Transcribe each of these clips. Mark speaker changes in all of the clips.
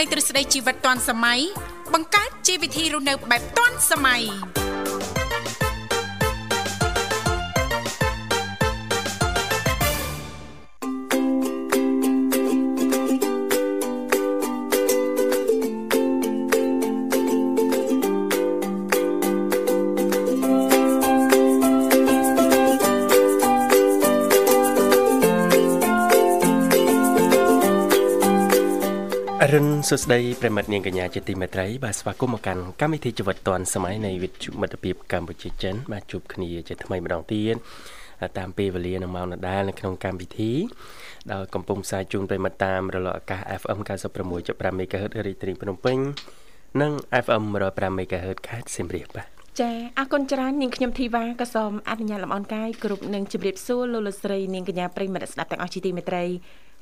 Speaker 1: លេងទ្រឹស្ដីជីវិតទាន់សម័យបង្កើតជីវវិធីរស់នៅបែបទាន់សម័យ
Speaker 2: អរុនសួស្តីប្រិមិត្តនាងកញ្ញាជាទីមេត្រីបាទស្វាគមន៍មកកាន់កម្មវិធីជីវិតឌွန်សម័យនៃវិទ្យុមិត្តភាពកម្ពុជាចិនបាទជួបគ្នាជាថ្មីម្ដងទៀតតាមពេលវេលានឹងម៉ោងដដែលនៅក្នុងកម្មវិធីដោយកំពុងផ្សាយជូនប្រិមិត្តតាមរលកអាកាស FM 96.5 MHz រាជធានីភ្នំពេញនិង FM 105 MHz ខេត្តសៀមរាបបាទ
Speaker 3: ចាអរគុណច្រើននាងខ្ញុំធីវ៉ាក៏សូមអនុញ្ញាតលំអរកាយគ្រប់នឹងជម្រាបសួរលោកលោកស្រីនាងកញ្ញាប្រិយមិត្តស្ដាប់ទាំងអស់ជាទីមេត្រី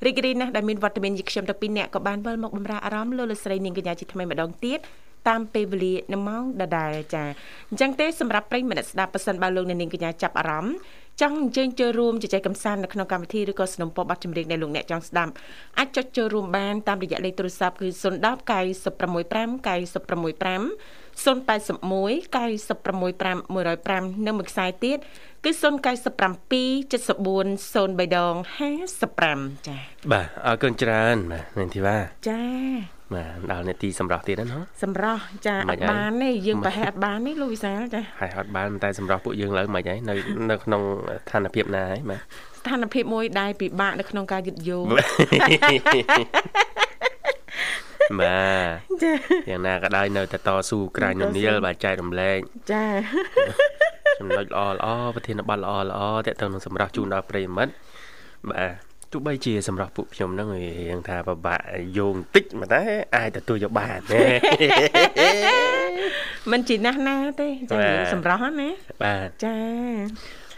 Speaker 3: រីករាយណាស់ដែលមានវត្តមានជាខ្ញុំទាំងពីរអ្នកក៏បានវិលមកបម្រើអារម្មណ៍លោកលោកស្រីនាងកញ្ញាជាថ្មីម្ដងទៀតតាមពេលវេលានៅម៉ោងដដែលចាអញ្ចឹងទេសម្រាប់ប្រិយមិត្តស្ដាប់ប៉ះសិនបើលោកអ្នកនាងកញ្ញាចាប់អារម្មណ៍ចង់អញ្ជើញចូលរួមជជែកកម្សាន្តនៅក្នុងកម្មវិធីឬក៏สนับสนุนបទចម្រៀងដែលលោកអ្នកចង់ស្ដាប់អាចចុចចូលរួមបានតាមរយៈលេខទូរស័ព្ទគឺ010 965 965 081965105និងមួយខ្សែទៀតគឺ0977403055ចា
Speaker 2: បាទអរគុណច្រើនបាទនាងធីវ៉ា
Speaker 3: ៎ចា
Speaker 2: បាទដល់នាទីសម្រាប់ទៀតហើយណា
Speaker 3: សម្រាប់ចា
Speaker 2: មិន
Speaker 3: អត់
Speaker 2: អី
Speaker 3: បានទេយើងប្រហែលអត់បានទេលោកវិសាលចា
Speaker 2: ហើយហត់បានតែសម្រាប់ពួកយើងឡើងមិនហើយនៅនៅក្នុងស្ថានភាពណាហើយបាទ
Speaker 3: ស្ថានភាពមួយដែលពិបាកនៅក្នុងការយឹតយោង
Speaker 2: បាទ
Speaker 3: ចា
Speaker 2: យ៉ាងណាក៏ដោយនៅតែតស៊ូក្រាញនំនៀលបាទចែករំលែក
Speaker 3: ចា
Speaker 2: ចំណុចល្អល្អប្រធានបတ်ល្អល្អតទៅនឹងសម្រាប់ជូនដល់ប្រិយមិត្តបាទទោះបីជាសម្រាប់ពួកខ្ញុំហ្នឹងរៀងថាពិបាកយោងតិចប៉ុន្តែអាចទទួលយកបាន
Speaker 3: ມັນជីណាស់ណាទេចា
Speaker 2: បាទ
Speaker 3: យើងសម្រាប់ហ្នឹងណា
Speaker 2: បាទ
Speaker 3: ចា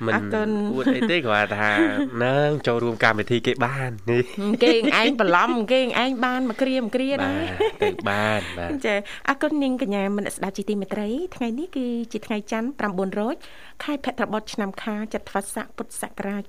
Speaker 2: មិន
Speaker 3: អរគុណ
Speaker 2: អួតអីទេគ្រាន់តែថានឹងចូលរួមកម្មវិធីគេបាននេះ
Speaker 3: គេឯងបន្លំ គេឯងបានមកគ្រាមកគ្រា
Speaker 2: បា
Speaker 3: ណា
Speaker 2: ទទៅបានបាទ
Speaker 3: ចាអរគុណនាងកញ្ញាមនស្ដាប់ជីទីមេត្រីថ្ងៃនេះគឺជាថ្ងៃច័ន្ទ9រោចខែភទ្របទឆ្នាំខាចត្វាស័កពុទ្ធសករាជ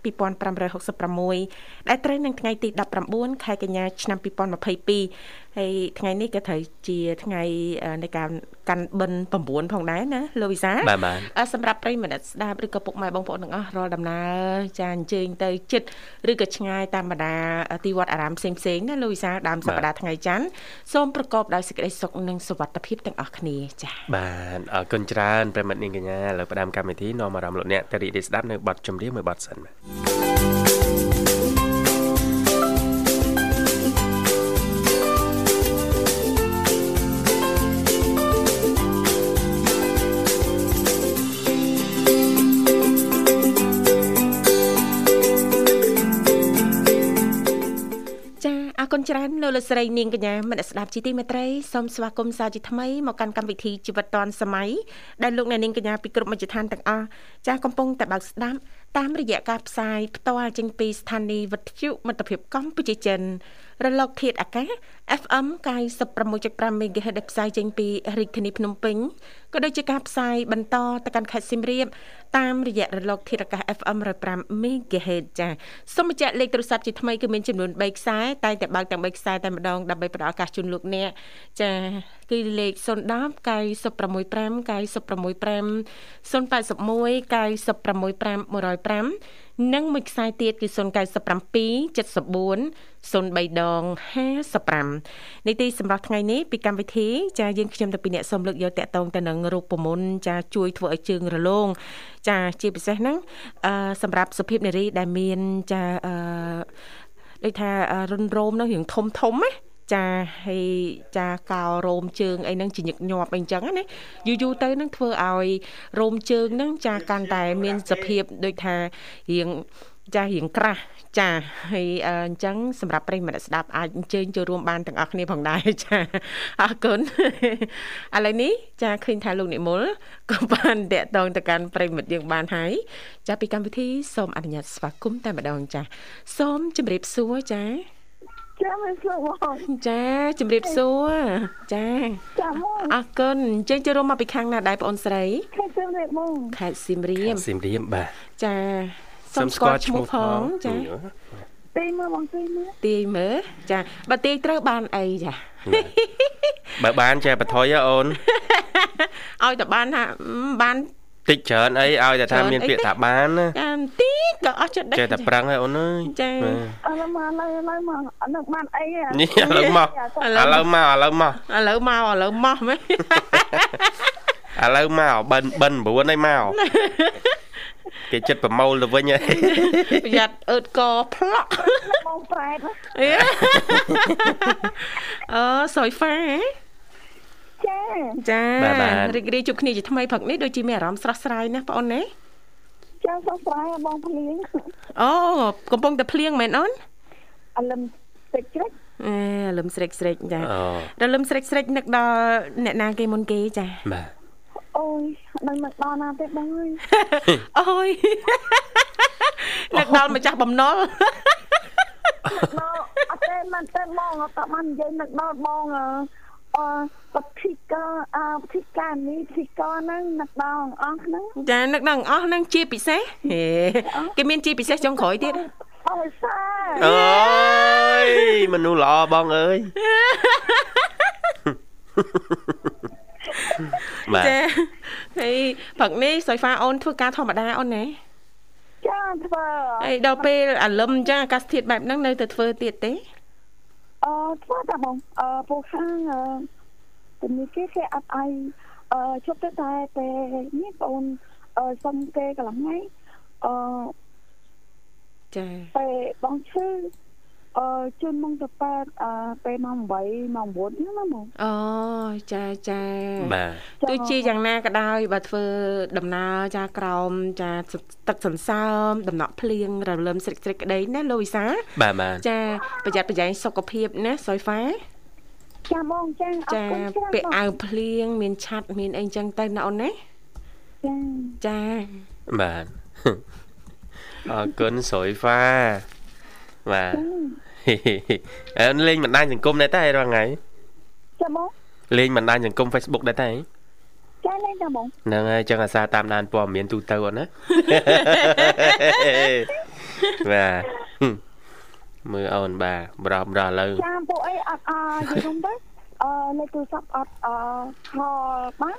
Speaker 3: 2566ដែលត្រូវនឹងថ្ងៃទី19ខែកញ្ញាឆ្នាំ2022ហើយថ្ងៃនេះក៏ត្រូវជាថ្ងៃអឺនៃការកាន់បិណ្ឌ9ផងដែរណាលោកវិសាល
Speaker 2: បាទបាទ
Speaker 3: អ่าសម្រាប់ប្រិយមិត្តអ្នកស្ដាប់ឬក៏ពុកម៉ែបងប្អូនទាំងអស់រាល់ដំណើរចាអញ្ជើញទៅចិត្តឬក៏ឆ្ងាយតាមបណ្ដាទីវត្តអារាមផ្សេងផ្សេងៗណាលោកវិសាលដើមសប្តាហ៍ថ្ងៃច័ន្ទសូមប្រកបដោយសេចក្តីសុខនិងសុវត្ថិភាពទាំងអស់គ្នាចា
Speaker 2: បាទអរគុណច្រើនប្រិមត្តនាងកញ្ញាលើផ្ដាំកម្មវិធីនាំអារម្មណ៍លោកអ្នកទៅរីករាយស្ដាប់នៅបទចម្រៀងមួយបទសិនបាទ
Speaker 3: ចាអរគុណច្រើនលោកលោកស្រីនាងកញ្ញាមិត្តអ្នកស្ដាប់ជីទីមេត្រីសូមស្វាគមន៍សាជាថ្មីមកកាន់កម្មវិធីជីវិតឌွန်សម័យដែលលោកអ្នកនាងកញ្ញាពីគ្រប់មជ្ឈដ្ឋានទាំងអស់ចាកំពុងតែបើកស្ដាប់តាមរយៈការផ្សាយផ្ទាល់ចេញពីស្ថានីយ៍វិទ្យុមិត្តភាពកម្ពុជាចិន រលកធាតុអាកាស FM 96.5 MHz ដែលផ្សាយចេញពីរាជធានីភ្នំពេញក៏ដូចជាការផ្សាយបន្តទៅកាន់ខេត្តសៀមរាបតាមរយៈរលកធាតុអាកាស FM 105 MHz ចា៎សូមបញ្ជាក់លេខទូរស័ព្ទជាថ្មីគឺមានចំនួន3ខ្សែតែងតែបើកទាំង3ខ្សែតែម្ដងដើម្បីផ្ដល់ឱកាសជូនលោកអ្នកចា៎គឺលេខ010 965 965 081 965 105និងមួយខ្សែទៀតគឺ097 74 03ដង55នីតិសម្រាប់ថ្ងៃនេះពីកម្មវិធីចាយើងខ្ញុំទៅពីអ្នកសូមលើកយកតកតងទៅនឹងរូបមន្តចាជួយធ្វើឲ្យជើងរលោងចាជាពិសេសហ្នឹងអឺសម្រាប់សុភាពនារីដែលមានចាអឺ ដូចថាអ่าរុនរោមនឹងរឿងធំធំណាចាហើយចាកោរោមជើងអីហ្នឹងជាញឹកញាប់អីចឹងណាយូរយូរទៅហ្នឹងធ្វើឲ្យរោមជើងហ្នឹងចាកាន់តែមានសភាពដូចថារៀងចារៀងក្រាស់ចាហើយអឺអញ្ចឹងសម្រាប់ប្រិយមិត្តអ្នកស្ដាប់អាចអញ្ជើញចូលរួមបានទាំងអស់គ្នាផងដែរ ចាអរគុណ ឥឡូវនេះចាឃើញថាលោកនិមល ក៏បានតាក់ទងទៅកាន់ប្រិយមិត្តយើងបានហើយចាពីកម្មវិធីសូមអនុញ្ញាតស្វាគមន៍តែម្ដងចាសូមជម្រាបសួរចា
Speaker 4: ចាំមិនស្លបង
Speaker 3: ចាជម្រាបសួរចា
Speaker 4: ចាំមក
Speaker 3: អរគុណអញ្ជើញចូលរួមមកពីខាងណាដែរបងអូនស្រី
Speaker 4: ខេតទៅមក
Speaker 3: ខេត្តសៀមរាប
Speaker 2: សៀមរាបបាទ
Speaker 3: ចាសូមស្គាល់ឈ្មោះផងចា
Speaker 4: ទេមើលបងទេមើល
Speaker 3: ទាយមើលចាបើទាយត្រូវបានអីចា
Speaker 2: បើបានចេះបន្ថយហ៎អូន
Speaker 3: ឲ្យតែបានថាអឺបាន
Speaker 2: តិចច្រើនអីឲ្យតែថា
Speaker 3: ច្រើន
Speaker 2: មាន
Speaker 3: អី
Speaker 2: ពាក្យ
Speaker 3: ទេ
Speaker 2: ថាបានណា
Speaker 3: ចាបន្តិចក៏អស់ចិត្តដែរ
Speaker 2: ចេះតែ
Speaker 3: ចា
Speaker 2: ប្រឹងហ៎អូនអើយ
Speaker 3: ចា
Speaker 4: ឥឡូវមកឥឡូវឥឡូវមកអនុបានអី ហ៎
Speaker 2: នេះឥឡូវមកឥឡូវមកឥឡូវមក
Speaker 3: ឥឡូវមកឥឡូវមក មែន
Speaker 2: ឥឡូវមកបិណ្ឌបិណ្ឌ9ហើយមកគេចិត្តប្រមូលទៅវិញហើយ
Speaker 3: ប្រយ័ត្នអឺតកផ្លក់
Speaker 4: បងប្រែត
Speaker 3: អេ អឺសុយហ្វាហ៎
Speaker 4: ចា
Speaker 3: ចា
Speaker 2: បាទបាទ
Speaker 3: រីករាយជួបគ្នាជាថ្មីព្រឹកនេះដូចជាមានអារម្មណ៍ស្រស់ស្រាយណាស់បងអូនណា
Speaker 4: ចាសុខស្រួលបងភ្លៀង
Speaker 3: អូកំពុងតែភ្លៀងមែនអូន
Speaker 4: អលឹមតិចជ្រិច
Speaker 3: អេរលឹមស្រិចស្រិចចា
Speaker 2: អូ
Speaker 3: រលឹមស្រិចស្រិចនឹកដល់អ្នកណាគេមុនគេចា
Speaker 2: បាទ
Speaker 4: អូយដល់មកដល់ណាទេបងអើយ
Speaker 3: អូ យនឹកដល់ម្ចាស់បំណុល
Speaker 4: ដល់អត់ទេមិនទេបងអត់តបាននិយាយនឹកដល់បងអឺអឺពិធីការអឺពិធីការនេះពិធីការហ្នឹងនឹកដល់អស់ហ្នឹង
Speaker 3: ចានឹកដល់អស់ហ្នឹងជាពិសេសហេគេមានជាពិសេសចុងក្រោយទៀត
Speaker 4: អរសា
Speaker 2: អើយមនុស្សល្អបងអើយបាទ
Speaker 3: ចាហើយព្រឹកនេះសុយហ្វាអូនធ្វើការធម្មតាអូនណា
Speaker 4: ចាធ្វើ
Speaker 3: ហើយដល់ពេលអាលឹមអញ្ចឹងអាកាសធាតុបែបហ្នឹងនៅតែធ្វើទៀតទេ
Speaker 4: អឺធ្វើតែបងអឺពូខាងអឺជំនាញគេគេអត់ឲ្យអឺជប់ទៅតែពេលនេះបងអឺសុំគេកន្លងថ្ងៃអឺ
Speaker 3: ចា
Speaker 4: ពេលបងឈឺអឺជូនមកទៅប៉ែតអឺពេលម៉ោង8ម៉ោង9ហ្នឹងណាបង
Speaker 3: អូចាចា
Speaker 2: បាទ
Speaker 3: ទោះជាយ៉ាងណាក៏ដោយបើធ្វើដំណើរចាក្រោមចាទឹកសន្សើមដំណក់ភ្លៀងរលឹមស្រិចស្រិចក្តីណាលោកវិសា
Speaker 2: បាទបាទ
Speaker 3: ចាប្រយ័ត្នប្រយែងសុខភាពណាសុយហ្វា
Speaker 4: ចាបងចាអរ
Speaker 3: ចា
Speaker 4: គុណច្រើន
Speaker 3: ពាក់
Speaker 4: បង
Speaker 3: អាវភ្លៀងមានឆ័ត្រមានអីអញ្ចឹងទៅណាអូនណាចា
Speaker 4: ចា
Speaker 2: បាទអរគុណសុយហ្វាបាទហេហេហេអើលេងបណ្ដាញសង្គមដែរតែរាល់ថ្ងៃ
Speaker 4: ចាបង
Speaker 2: លេងបណ្ដាញសង្គម Facebook ដែរតែ
Speaker 4: ចាលេងចាបង
Speaker 2: ហ្នឹងហើយចឹងអាសាតាមដានព័ត៌មានទូទៅអូនណាបាទ មើលអូនបាទបរោះបរោះឥឡូវ
Speaker 4: ចាពួកអីអត់អរយល់ទៅអឺលេខទូរស័ព្ទអត់អរខលបាន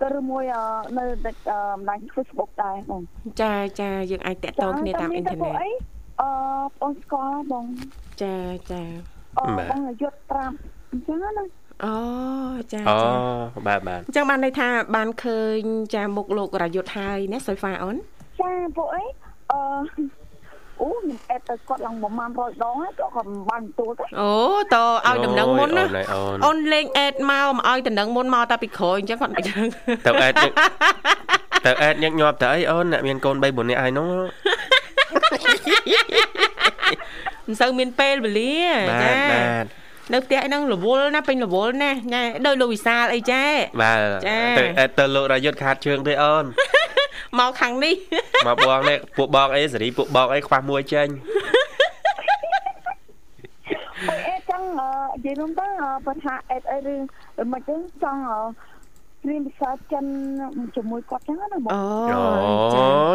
Speaker 4: ក៏ឬមួយអឺនៅដឹកអឺបណ្ដាញ Facebook ដែរបង
Speaker 3: ចាចាយើងអាចតាក់ទងគ្នាតាមអ៊ីនធឺណិត
Speaker 4: អឺបងស្គាល់ហើយបង
Speaker 3: ចាចា
Speaker 4: អឺបងអាយុ5អញ្ចឹងណា
Speaker 3: អូចា
Speaker 2: អូ
Speaker 3: ចា
Speaker 2: បាទបាទ
Speaker 3: អញ្ចឹងបានន័យថាបានឃើញចាមុខលោករយុទ្ធហើយណាសុយហ្វាអូន
Speaker 4: ចាពួកអីអឺអូខ្ញុំអេតទៅគាត់ឡើងប្រហែល100ដងហើយគាត់ក៏មិនបានទទួលទេ
Speaker 3: អូតឲ្យដំណឹងមុនណា
Speaker 2: អូយអូនអូ
Speaker 3: អូ
Speaker 2: ន
Speaker 3: នលេងអេតមកមកឲ្យដំណឹងមុនមកតាពីក្រោយអញ្ចឹងគាត់មិនដឹង
Speaker 2: ទៅអេតញឹកទៅអេតញឹកញាប់ទៅអីអូនអ្នកមានកូន3 4នាក់ហើយនោះ
Speaker 3: មិនសូវមានពេលវេលា
Speaker 2: បាទបាទ
Speaker 3: នៅផ្ទះហ្នឹងរវល់ណាពេញរវល់ណាញ៉ែដោយលោកវិសាលអីចា
Speaker 2: បាទ
Speaker 3: ចា៎
Speaker 2: ទៅអេតទៅលោករយុទ្ធខាតជើងទេអូន
Speaker 3: មកខាងនេះ
Speaker 2: មកបងនេះពួកបងអីសេរីពួកបងអីខ្វះមួយចេញ
Speaker 4: ពួកអេតចឹងអឺនិយាយរួមទៅអឺបញ្ហាអេតអីឬមិនចឹងចង់អឺព្រៀនភាសាចិនជាមួយគាត់ចឹងណាបង
Speaker 3: អូចា
Speaker 2: អូ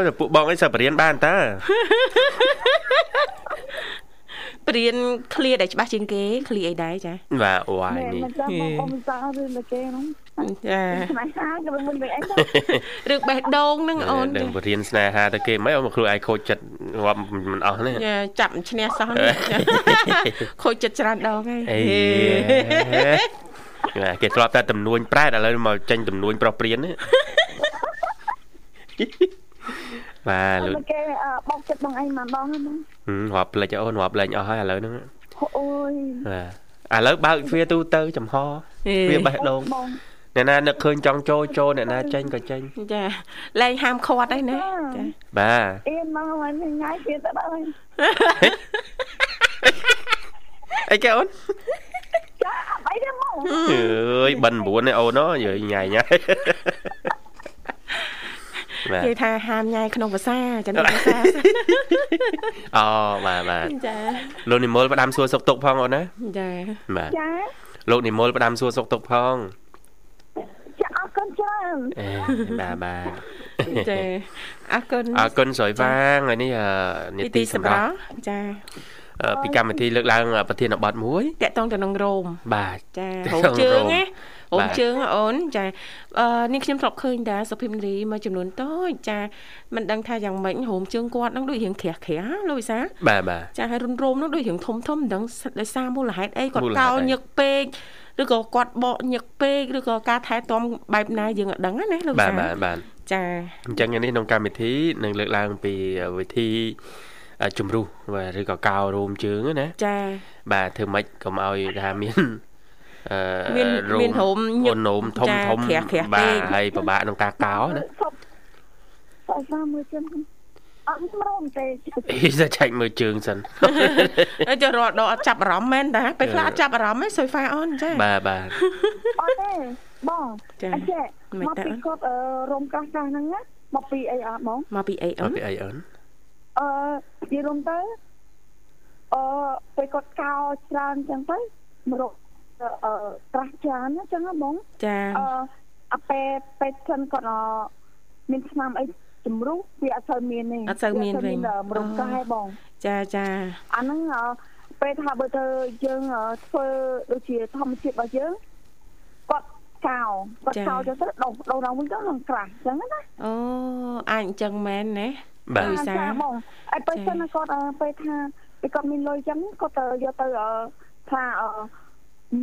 Speaker 2: ទៅពួកបងអីសិស្សបរៀនបានតើ
Speaker 3: ព្រៀនឃ្លាដែលច្បាស់ជាងគេឃ្លាអីដែរចា
Speaker 2: បាទវ៉ាយ
Speaker 4: មែន
Speaker 2: នេះ
Speaker 4: មិនចាំបងអ៊ំសាឬលោកគេហ្នឹង
Speaker 3: ចា
Speaker 4: ស្នេហាក៏មិនមិនអីទេ
Speaker 3: រឿងបេះដូងហ្នឹងអូន
Speaker 2: ដឹងបរៀនស្នេហាទៅគេមិនអីអូនមកគ្រូឯងខូចចិត្តងាប់មិនអស់នេះ
Speaker 3: ចាចាប់ឈ្នះសោះនេះចា ខូចចិត្តច្រើនដងហើយ
Speaker 2: អេណា គេធ្លាប់តែទំនួញប្រែតឥឡូវមកចេញទំនួញប្រុសព្រៀន ណាបាទលោក
Speaker 4: លោកគេអឺបោកចិត្តបងអីម្ដងហ្នឹងបង
Speaker 2: ហឹមរាប់ផ្លិចអូនរាប់លេងអស់ហើយឥឡូវហ្នឹង
Speaker 4: អូយ
Speaker 2: បាទឥឡូវបើកទ្វារទូទៅចំហទ្វារបេះដូង
Speaker 4: បង
Speaker 2: អ្នកណានឹកឃើញចង់ចូលចូលអ្នកណាចេញក៏ចេញ
Speaker 3: ចាលែងហាមខាត់ហើយណាចា
Speaker 2: បាទ
Speaker 4: អៀនមកហើយថ្ងៃទៀតទៅដល់ហើយ
Speaker 2: អីគេអូន
Speaker 4: ចាអត់អីទេមក
Speaker 2: អើយបិណ្ឌ9នេះអូនអើយញ៉ៃ ញ៉ៃបាទ
Speaker 3: និយាយថាហាមញ៉ៃក្នុងភាសា ចាក្នុងភាសា
Speaker 2: អូបាទបាទ
Speaker 3: ចា
Speaker 2: លោកនិមលផ្ដាំសួរសុខទុក្ខផងអូនណា
Speaker 3: ចា
Speaker 2: បាទ
Speaker 4: ចា
Speaker 2: លោកនិមលផ្ដាំសួរសុខទុក្ខផង
Speaker 4: ចាអរគុណច្រើន
Speaker 2: អេ បាទបាទ
Speaker 3: ចាអរគុណ
Speaker 2: អរគុណស្រីវ៉ាងហើយនេះអឺនី
Speaker 3: នី
Speaker 2: តិ
Speaker 3: តិ
Speaker 2: ស
Speaker 3: ស
Speaker 2: ម្រាប់
Speaker 3: ម្រាប់ចា
Speaker 2: អឺពីកម្មវិធីលើកឡើងប្រធានបទមួយ
Speaker 3: តាក់ទងទៅនឹងរោម
Speaker 2: បាទ
Speaker 3: ចា
Speaker 2: ទៅ
Speaker 3: រោមជើង
Speaker 2: រោម
Speaker 3: ណារោ
Speaker 2: បា
Speaker 3: ម
Speaker 2: ទ
Speaker 3: ជើងហ៎អូនចាអឺនេះខ្ញុំធ្លាប់ឃើញតាសុភិមរីមួយចំនួនតូចចាមិនដឹងថាយ៉ាងម៉េចរោមជើងគាត់ហ្នឹងដូចរៀងក្រាស់ក្រាស់លោកវិសាល
Speaker 2: បាទបាទ
Speaker 3: ចាហើយរុនរោមនោះដូចរឿងធំធំមិនដឹងសិតដោយសារមូលហេតុអីគាត់
Speaker 2: មូលហេតុ
Speaker 3: កោ
Speaker 2: អី
Speaker 3: ញឹកពេកឬក៏គាត់បកញឹកពេកឬក៏ការថែទាំបែបណាយើងអត់ដឹងណាលោក
Speaker 2: បាទ
Speaker 3: សា
Speaker 2: បាទបាទ
Speaker 3: ចា
Speaker 2: អញ្ចឹងថ្ងៃនេះក្នុងកម្មវិធីនឹងលើកឡើងពីវិធីអឺជំរុះបាទឬក៏កោរោមជើងហ្នឹងណា
Speaker 3: ចា
Speaker 2: បាទធ្វើម៉េចកុំឲ្យថាមានអ
Speaker 3: មា
Speaker 2: ឺ
Speaker 3: នមានរោមញឹ
Speaker 2: អូ
Speaker 3: ក
Speaker 2: នរោមធំ
Speaker 3: ចា
Speaker 2: ធំ
Speaker 3: ក្រាស់ក្រាស់ពេ
Speaker 2: បាទ
Speaker 3: ក
Speaker 2: ហើយពិបាកក្នុងការកោណា
Speaker 4: សពសពសាមួយជើងអត់មករមទេ
Speaker 2: អីសចាច់មើលជើងសិន
Speaker 3: ហើយទៅរត់ដល់អត់ចាប់អារម្មណ៍មែនតាពេលខ្លះអត់ចាប់អារម្មណ៍ឯងសុយហ្វាអូនចា
Speaker 2: បាទបាទ
Speaker 4: អត់ទេបង
Speaker 3: ចា
Speaker 4: អញ្ចេះ
Speaker 3: មិន
Speaker 4: មក
Speaker 3: ដឹង
Speaker 4: ពីគាត់អឺរមកាសកាសហ្នឹងណាមកពីអីអត់បង
Speaker 3: មកពីអី
Speaker 2: អ
Speaker 3: អូ
Speaker 2: ត់
Speaker 3: ន
Speaker 2: ពីអីអូន
Speaker 4: អឺនិយាយរមទៅអឺពេលគាត់កោច្រើនអញ្ចឹងទៅមករកអឺត្រាស់ច្រើនណាអញ្ចឹងណាបង
Speaker 3: ចា
Speaker 4: អឺអាពេលពេលសិនគាត់អឺមានឆ្នាំអីជំរុះវាអត់សូវមានទេ
Speaker 3: អត់សូវមានវិញ
Speaker 4: អឺមរុំកាយបង
Speaker 3: ចាចា
Speaker 4: អាហ្នឹងអឺពេលថាបើទៅយើងអឺធ្វើដូចជាធម្មជាតិរបស់យើងគាត់កោគាត់កោចុះទៅដុសដុសឡើងវិញទៅឡើងក្រាស់អញ្ចឹងណា
Speaker 3: អូអាចអញ្ចឹងមែនណា
Speaker 2: បាទ
Speaker 3: អឺ
Speaker 4: ចាបងអីពេលសិនគាត់អឺពេលថាពេលគាត់មានលុយអញ្ចឹងគាត់ទៅយកទៅអឺថាអឺ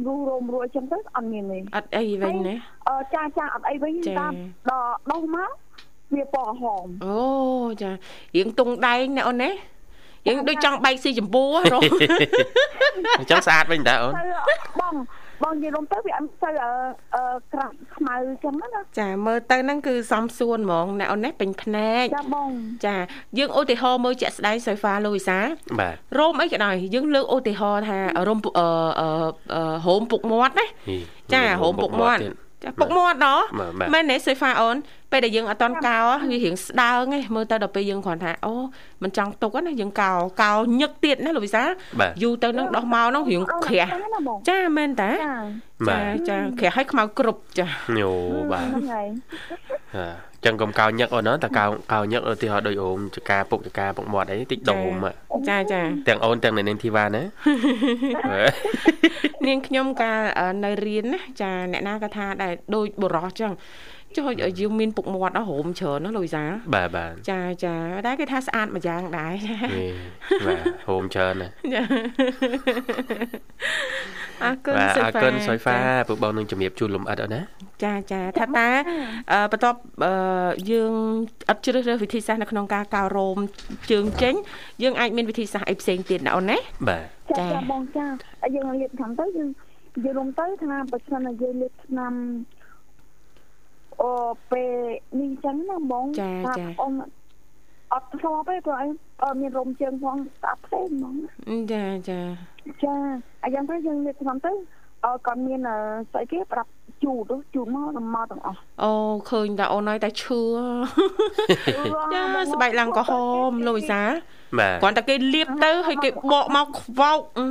Speaker 4: រੂរោមរួយអញ្ចឹងទៅអត់មានទេ
Speaker 3: អត់អីវិញណា
Speaker 4: អឺចាស់ចាស់អត់អីវិញ
Speaker 3: ចា
Speaker 4: តាមដល់ដុសមកវាពណ៌ក្រហម
Speaker 3: អូចារៀងទងដែងណាអូនណារៀងដូចចង់បែកស៊ីចម្ពោះរោម
Speaker 2: អញ្ចឹងស្អាតវិញតើអូន
Speaker 4: ទៅបងបងនិយាយរំទៅវាអត់ទៅអឺអឺក្រាស់ខ្មៅអញ្ចឹងណា
Speaker 3: ចាមើលទៅហ្នឹងគឺសំសួនហ្មងណែអូនណាពេញភ្នែក
Speaker 4: ចាបង
Speaker 3: ចាយើងឧទាហរណ៍មើលជាក់ស្ដែងសូហ្វាលូវីសា
Speaker 2: បាទ
Speaker 3: រោមអីក៏ដោយយើងលើកឧទាហរណ៍ថារោមពុអឺអឺអឺរោមពុកមាត់ណា
Speaker 2: នេះ
Speaker 3: ចារោមពុកមាត់
Speaker 2: ទៀត
Speaker 3: ចាពុកមាត់ណោះ
Speaker 2: បាទបាទ
Speaker 3: មែនទេសូហ្វាអូនពេលដែលយើងអត់តន់កោវារៀងស្ដើងឯងមើលទៅដល់ពេលយើងគ្រាន់ថាអូមិនចង់ទុកណាយើងកោកោញឹកទៀតណាលូវីសា
Speaker 2: បាទ
Speaker 3: យូរទៅនឹងដោះមកហ្នឹងរៀងក្រាស់
Speaker 4: ហ្នឹងណាបង
Speaker 3: ចាមែនតា
Speaker 4: ចា
Speaker 2: បាទ
Speaker 3: ចាចាក្រាស់ឲ្យខ្មៅគ្រប់ចា
Speaker 2: យោបាទ
Speaker 4: ហ្នឹងហើយ
Speaker 2: អញ្ចឹងកុំកោញឹកអូនណាតើកោកោញឹកឧទាហរណ៍ដូចអូមចកាពុកចកាពុកមាត់អីតិចដុំអ่ะ
Speaker 3: ចាចា
Speaker 2: ទាំងអូនទាំងនៅនាងធីវ៉ាណា
Speaker 3: នាងខ្ញុំកាលអឺនៅរៀនណាចាអ្នកណាក៏ថាដែរដូចបរោះចឹងចុះឲ្យយើងមានពុកមាត់អស់រោមច្រើនណាស់លូយសា
Speaker 2: បាទបាទ
Speaker 3: ចាចាតែគេថាស្អាតមួយយ៉ាងដែរចា
Speaker 2: ហេបាទហូមច្រើនណាស់
Speaker 3: ចាអរគុណ
Speaker 2: បាទ
Speaker 3: សុយ
Speaker 2: អរ
Speaker 3: ហ្វា
Speaker 2: គុណសុយហ្វាពួកបងនឹងជំរាបជូនលំអិតអូនណា
Speaker 3: ចាចាថាតាអឺបន្ទាប់អឺយើងអត់ជ្រើសរើសវិធីសាស្ត្រនៅក្នុងការកោររោមជើងចេញយើងអាចមានវិធីសាស្ត្រអីផ្សេងទៀតណាអូនណា
Speaker 2: បាទ
Speaker 4: ចាចាបងចាហើយយើងរៀបខាងទៅយើងនិយាយរំទៅថាបើសិនណាយើងរៀបឆ្នាំអូពេលនេះអញ្ចឹងណាបងអ៊ំអត់ធ្លាប់ទេព្រោះអីអឺមានរំជើងផងស្អាតផ្សេងហ្មង
Speaker 3: ចាចា
Speaker 4: ចាអាយ៉ាងទៅយើងលើកឆ្នាំទៅអឺក៏មានអឺស្អីគេប្រាប់ជូតជូតមកដល់មកទាំងអស់
Speaker 3: អូឃើញតាអូនហើយតាឈឺ ចាស្បែកឡើងក្រហមលោកវិសាល
Speaker 2: បាទ
Speaker 3: គ្រាន់តែគេលាបទៅហើយគេបកមកខ្វោកអឺ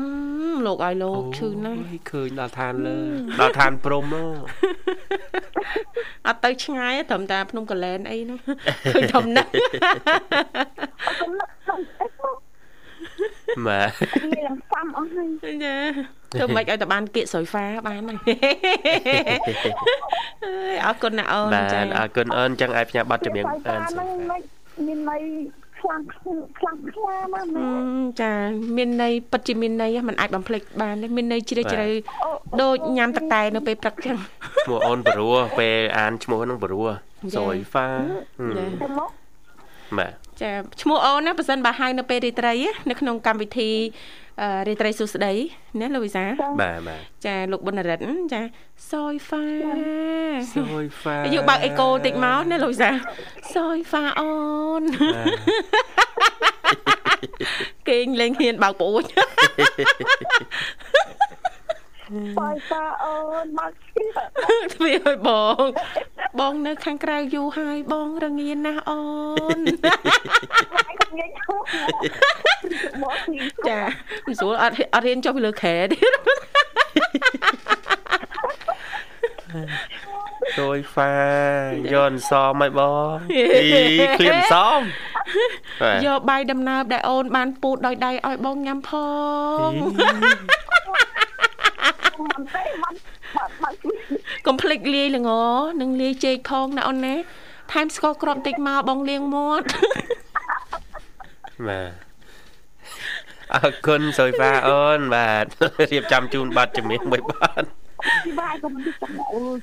Speaker 3: មលោកឲ្យលោកឈឺណាស់
Speaker 2: អូយឃើញដល់ឋានលើដល់ឋានព្រំមក
Speaker 3: អត់ទៅឆ្ងាយទេត្រឹមតែភ្នំកលែនអី ហ្នឹងឃើញធំណាស់
Speaker 4: កំណត់ខ្ញុំអីមក
Speaker 2: បាទ
Speaker 4: វាឡើងសាំអស់ហើយ
Speaker 3: ចាទៅមិនឲ្យតែបានគៀកស្រួយហ្វាបានហើយ អើយអរគុណណាអូន
Speaker 2: បា
Speaker 3: ចា
Speaker 2: ទអរគុណអូនអញ្ចឹងអាចផ្ញើប័ណ្ណចម្រៀង
Speaker 4: ស្បែ
Speaker 2: អាន
Speaker 4: ក
Speaker 2: សុ
Speaker 4: ហ្នឹ
Speaker 2: យ
Speaker 4: ង
Speaker 2: ហ្វា
Speaker 4: មិនមានអីខ្លាំងខ្លាំងខ្លាមក
Speaker 3: អឺ
Speaker 4: ណា
Speaker 3: មចាមានន័យពិតជាមានន័យមិនអាចបំភ្លេចបានទេមានន័យជ្រាលជ្រៅដូចញ៉ាំតកតែនៅពេលព្រឹកចឹង
Speaker 2: ឈ្មោះអូនបរោះពេលអានឈ្មោះហ្នឹងបរោះ
Speaker 3: ចា
Speaker 2: សុយហ្វា
Speaker 3: ចា
Speaker 4: ទៅមក
Speaker 2: បាទ
Speaker 3: ចាឈ្មោះអូនណាប៉ះសិនបើហៅនៅពេលរាត្រីណានៅក្នុងកម្មវិធីអឺរាត្រីសួស្ដីណាលោកវិសា
Speaker 2: បាទបាទ
Speaker 3: ចាលោកប៊ុនរិទ្ធចាសយហ្វា
Speaker 2: សុយហ្វា
Speaker 3: យកបើកអេកូតិចមកណាលោកវិសាសយហ្វាអូនគេងលេងហ៊ានបើក ប្អូន
Speaker 4: បើសាអូនមកឈឺ
Speaker 3: ទ្វាឲ្យបង បងនៅខាងក្រៅយូរហើយបងរងាណាស់អូន
Speaker 4: ហើយខ្ញុំញ៉ាំឈឺមកឈឺ
Speaker 3: ចាមិនស្រួលអត់អត់រៀនចុះពីលើខែទៀត
Speaker 2: សុយហ្វាយន់សមហើយបងអីឃ្លៀមសម បាទ
Speaker 3: យកបាយដំណើបដែលអូនបានពូតដោយដៃឲ្យបងញ៉ាំ ផង
Speaker 4: មិនទេមិនបាត់បាត់ជួយ
Speaker 3: កុំភ្លេចលាយល្ងនិងលាយចេកផងណាអូនណាថែមស្ករគ្រាប់បន្តិចមកបងលាងមាត់
Speaker 2: បាទអរគុណសុយហ្វាអូន បាទរៀបចំជូនប័ណ្ណជំនាញមួយប័ណ្ណ
Speaker 4: ពីបាយក៏មិនដឹងអូយ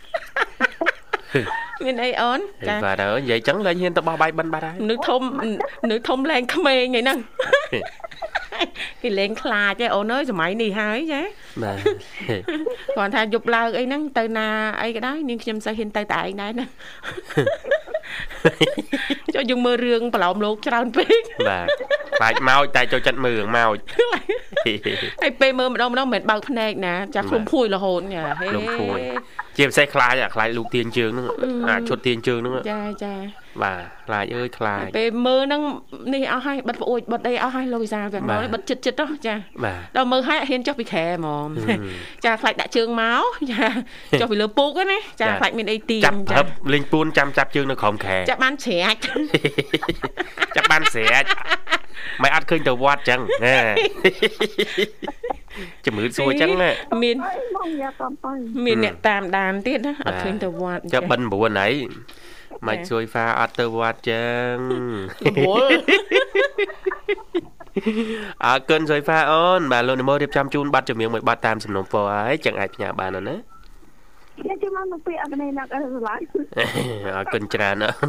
Speaker 3: មានអីអូន
Speaker 2: សុយហ្វាអើយនិយាយចឹងលែងហ៊ានទៅបោះបាយបិណ្ឌបាត់ហើយ
Speaker 3: មនុស្សធំមនុស្សធំលែងក្មេងឯហ្នឹងគេលែងខ្លាចឯអូនអើយសម័យនេះហើយចា
Speaker 2: បាទ
Speaker 3: គាត់ថាយប់ឡើងអីហ្នឹងទៅណាអីក៏ដោយនាងខ្ញុំសូវហ៊ានទៅតែឯងដែរ ណា ចុះយើងមើលរឿងប្រឡោមលោកច្រើនពេក
Speaker 2: បាទខ្លាចម៉ោចតែចូលចិត្តមើលរឿងម៉ោច
Speaker 3: ហើយពេលមើលម្ដងម្ដងមិនមែនបើកភ្នែកណាចាស់ខ្លួនភួយរហូតញ៉ាហេ
Speaker 2: ឃ្លុំភួយ ជាពិសេសខ្លាចអាខ្លាចលោកទៀងជើងហ្នឹងអាឈុតទៀងជើងហ្នឹង
Speaker 3: ចាចា
Speaker 2: បាទខ្លាចអើយខ្លាច
Speaker 3: ពេលមើលហ្នឹងនេះអស់ហើយបិទផ្អួចបិទអីអស់ហើយលោកវិសាលទាំងមកបិទចិត្តចិត្តៗហ៎ចា
Speaker 2: បាទ
Speaker 3: ដល់មើលហើយអត់ហ៊ានចុះពីខែហ្មងចាខ្លាចដាក់ជើងមកចាចុះពីលើពុកហ្នឹងណាចា
Speaker 2: ចា
Speaker 3: ខ្លាចមានអីទី
Speaker 2: ចាប់ហឹបលេងពួនចាំចាប់ជើងនៅក្រោមខែ
Speaker 3: ចាបានច្រាច់
Speaker 2: ចាប់បានស្រែកមិនអត់ឃើញទៅវត្ត ចឹងណាជំរឿនសួរចឹង ណា
Speaker 3: មាន
Speaker 4: អីមកញ៉ាំតាមទៅ
Speaker 3: មានអ្នកតាមដានទៀតណាអត់
Speaker 2: បាទ
Speaker 3: ឃើញទៅវត្ត
Speaker 2: ចុះបិណ្ឌ9ហើយមិនជួយហ្វាអត់ទៅវត្តចឹ ង
Speaker 3: វល់
Speaker 2: អើកិនជួយហ្វាអូនបាទលោកនិមលរៀបចំជូនប័ណ្ណចម្រៀងមួយប័ណ្ណតាមសំណុំពរហើយចឹងអាចផ្ញើបានអូនណា
Speaker 4: ខ្ញុំចាំមកពីអកណេណាក់អីស្រឡាញ់
Speaker 2: អរគុណច្រើន អូន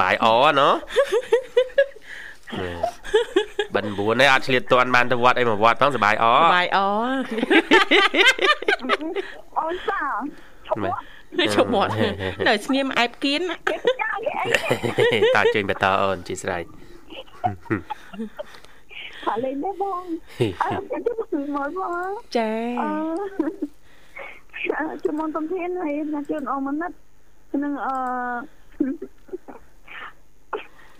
Speaker 2: បាយអណោះបិណ្ឌ9នេះអត់ឆ្លៀតតាន់បានទៅវត្តអីមកវត្តផងសបាយអ
Speaker 3: បាយអ
Speaker 4: អូនសាឈ ប់
Speaker 3: ជប់មាត់នៅស្ងៀមអែបគៀនណា
Speaker 4: គេចាយអី
Speaker 2: តាជើញបន្តអូនអធិស្ស្រ័យ
Speaker 4: ថាលេងទេបងអើខ្ញុំទៅមកមកបង
Speaker 3: ចា
Speaker 4: អឺជំនុំសំភានហើយណាជូនអមនិតនឹងអឺ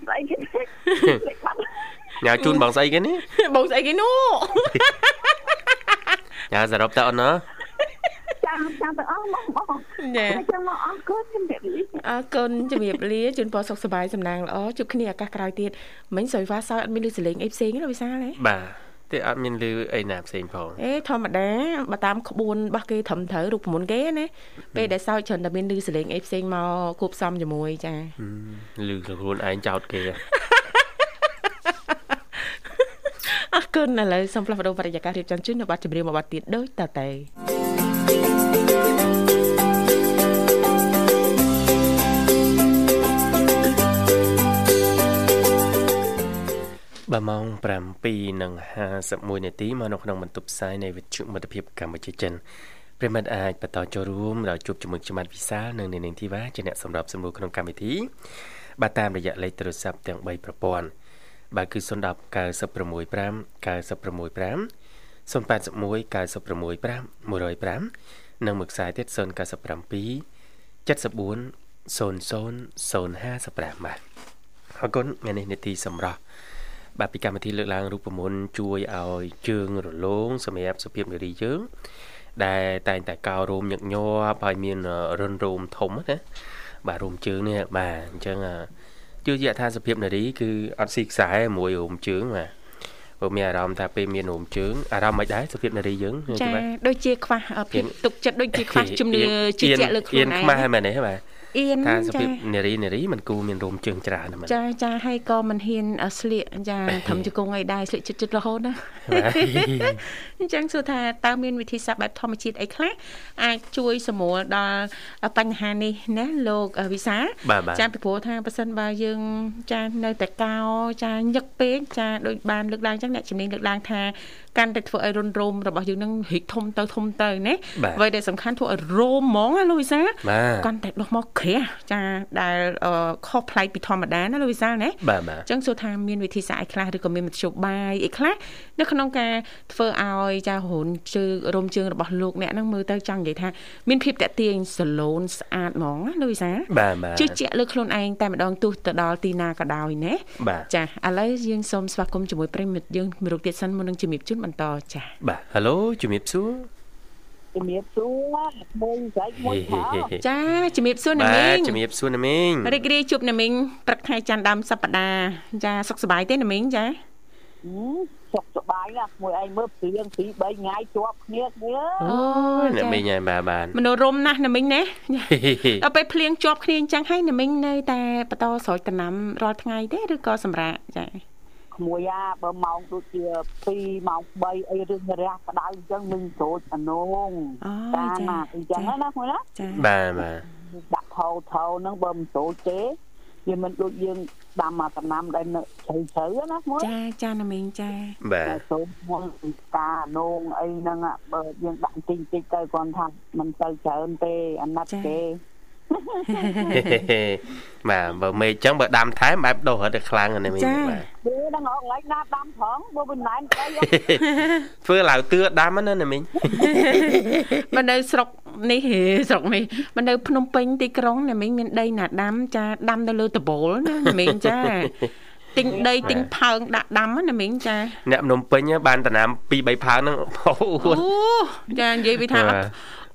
Speaker 4: ស្អីគេលេខបាត់
Speaker 2: ញ៉ាជូនបងស្អីគេនេះ
Speaker 3: បងស្អីគេនោះ
Speaker 2: ញ៉ាសរុបតើអូនណា
Speaker 4: ចាំចាំទៅអស់មកបង
Speaker 3: ចា
Speaker 4: ហើយចាំមកអស់គាត់ជំរាបលា
Speaker 3: អរគុណជំរាបលាជូនពរសុខសប្បាយសំណាងល្អជួបគ្នាឱកាសក្រោយទៀតមិញសុយវ៉ាសោយអត់មានលឺសលេងអីផ្សេងទេលោកវិសាលហ៎
Speaker 2: បាទតែអត់មានលឺអីណាផ្សេងផង
Speaker 3: អេធម្មតាបើតាមក្បួនរបស់គេត្រឹមត្រូវរូបមន្តគេណាពេលដែលសោយច្រើនតែមានលឺសលេងអីផ្សេងមកគួបផ្សំជាមួយចា
Speaker 2: លឺខ្លួនឯងចោតគេ
Speaker 3: អរគុណឥឡូវសូមផ្លាស់ប្ដូរបរិយាកាសរៀបចំជូននៅប័ណ្ណចម្រៀងមួយប័ណ្ណទៀតដូចតទៅ
Speaker 2: បាទម៉ោង7:51នាទីមកនៅក្នុងបន្ទប់ផ្សាយនៃវិទ្យុមិត្តភាពកម្ពុជាចិនប្រិមត្តអាចបន្តចូលរួមដល់ជួបជាមួយខ្ញុំបាទវិសាលនិងនាងធីវ៉ាជាអ្នកសម្របសម្រួលក្នុងកម្មវិធី បាទតាមរយៈលេខទូរស័ព្ទទាំង3ប្រព័ន្ធបាទគឺ010 965 965 081 965 105និងមួយខ្សែទៀត097 74 00055បាទអរគុណថ្ងៃនេះនីតិសម្រាប់ បាទពីកម្មវិធីលើកឡើងរូបមន្តជួយឲ្យជើងរលោងសម្រាប់សុភាពនារីយើងដែលតែងតែកោររោមញឹកញាប់ហើយមានអឺរុនរោមធំណាបាទរោមជើងនេះបាទអញ្ចឹងអឺជឿជាក់ថាសុភាពនារីគឺអត់ស៊ីខ្សែមួយរោមជើងបាទព្រោះមានអារម្មណ៍ថាពេលមានរោមជើងអារម្មណ៍មិនដែរសុភាពនារីយើង
Speaker 3: ចា
Speaker 2: បាទ
Speaker 3: ដូចជាខ្វះអឺភាពទុកចិត្តដូចជាខ្វះជំនឿជឿជាក់លើខ្លួន
Speaker 2: អៀន
Speaker 3: ឯង
Speaker 2: ខ្មាស់ហ្នឹងមែនទេបាទ
Speaker 3: អៀន
Speaker 2: ថា
Speaker 3: ចា
Speaker 2: សុភាពនារីនារីមិនគូមានរោមជើងច្រើនហ្នឹងមែន
Speaker 3: ចាចាហើយក៏មិនហ៊ានអ่ะស្លៀកចាធំជង្គង់អីដែរស្លៀកជិតជិតរហូ តណា អញ្ចឹងសួរថាតើមានវិធីសាស្ត្របែបធម្មជាតិអីខ្លះអាចជួយសម្រួលដល់បញ្ហានេះណាលោកអ่ะវិសាល
Speaker 2: បាទបាទ
Speaker 3: ចាពីព្រោះថាប៉ះសិនបើយើងចានៅតែកោចាញឹកពេកចាដូចបានលើកឡើងអញ្ចឹងអ្នកជំនាញលើកឡើងថាកាន់តែធ្វើឲ្យរុនរោមរបស់យើងនឹងរីកធំទៅធំទៅណា
Speaker 2: បាទ
Speaker 3: អ្វីដែលសំខាន់ធ្វើឲ្យរោមហ្មងណាលោកវិសាល
Speaker 2: បាទ
Speaker 3: កាន់តែដុះមកក្រាស់ចាដែលអឺខុសប្លែកពីធម្មតាណាលោកវិសាលណា
Speaker 2: បាទបាទ
Speaker 3: អញ្ចឹងសួរថាមានវិធីសាស្ត្រអីខ្លះឬក៏មានមធ្យោបាយអីខ្លះនៅក្នុងការធ្វើឲ្យចារូនជើងរោមជើងរបស់លោកអ្នកហ្នឹងមើលទៅចង់និយាយថាមានភាពតាក់ទាញសឡូនស្អាតហ្មងណាលោកវិសាល
Speaker 2: បាទបាទ
Speaker 3: ជឿជាក់លើខ្លួនឯងតែម្ដងទោះទៅដល់ទីណាក៏ដោយណា
Speaker 2: បាទ
Speaker 3: ចាឥឡូវយើងសូមស្វាគមន៍ជាមួយប្រិមិត្តយើងមួយរូបទៀតសិនមុននឹងជំរាបជូនបន្តចា
Speaker 2: បាទហៅជំរាបសួរ
Speaker 4: ជំរាបសួរមួយស្អែកមួយខោ
Speaker 5: ចាជំរាបសួរណា
Speaker 2: បា
Speaker 5: មី
Speaker 2: ទ
Speaker 5: ង
Speaker 2: ជំរាបសួរណាមីង
Speaker 5: រីករាយជួបណាមីងព្រឹកថ្ងៃច័ន្ទដើមសប្តាហ៍ចាសុខសប្បាយទេណាមីងចា
Speaker 4: សុខសប្បាយណាស់មួយឯងមើលព្រៀង2 3ថ្ងៃជាប់គ្នាគ្នា
Speaker 5: អូ
Speaker 2: ណាមីងហើយបាទបាន
Speaker 5: មនោរម្យណាស់ណាមីងណាដល់ពេលភ្លៀងជាប់គ្នាអញ្ចឹងហើយណាមីងនៅតែបន្តស្រោចដំណាំរាល់ថ្ងៃទេឬក៏សម្រាកចា
Speaker 4: ក្មួយអាបើម៉ោងដូចជា2ម៉ោង3អីរឿងរះក្តៅអញ្ចឹងនឹងស្រូចអនង
Speaker 5: អូ
Speaker 4: តាម
Speaker 5: ចា
Speaker 4: អីចឹងណាមួយណា
Speaker 5: ចា
Speaker 2: បាទបាទ
Speaker 4: ដាក់ថោថោហ្នឹងបើមិនចូលទេវាមិនដូចយើងដាំមកដំណាំដែលនៅជ្រៅជ្រៅៗណាមួយ
Speaker 5: ចាចាណាមីងចា
Speaker 2: បាទ
Speaker 4: តែសូមមកពីតាអនងអីហ្នឹងអាបើយើងដាក់តិចតិចៗទៅគាត់ថាមិនទៅច្រើនទេអាណិត
Speaker 5: ចា
Speaker 4: ទេ
Speaker 2: បាទបើមេឃចឹងបើដាំថែមបែបដុសរត់តែខ្លាំងណាមីង
Speaker 5: ចា
Speaker 2: បាទ
Speaker 4: ព្រោះដល់កន្លែងណាដាំផងបើមិនណែនទៅ
Speaker 2: ធ្វើឡាវទឿដាំហ្នឹងណាមីង
Speaker 5: មកនៅស្រុកនេះហេស្រុកនេះមកនៅភ្នំពេញទីក្រុងណាមីងមានដីណាដាំចាដាំនៅលើតបូលណាណាមីងចាទិញដីទិញផើងដាក់ដាំណាមីងចា
Speaker 2: អ្នកភ្នំពេញហ៎បានដំណាំ2 3ផើងហ្នឹងអូ
Speaker 5: អូ
Speaker 2: អួត
Speaker 5: ចានិយាយវាថា
Speaker 2: បាទ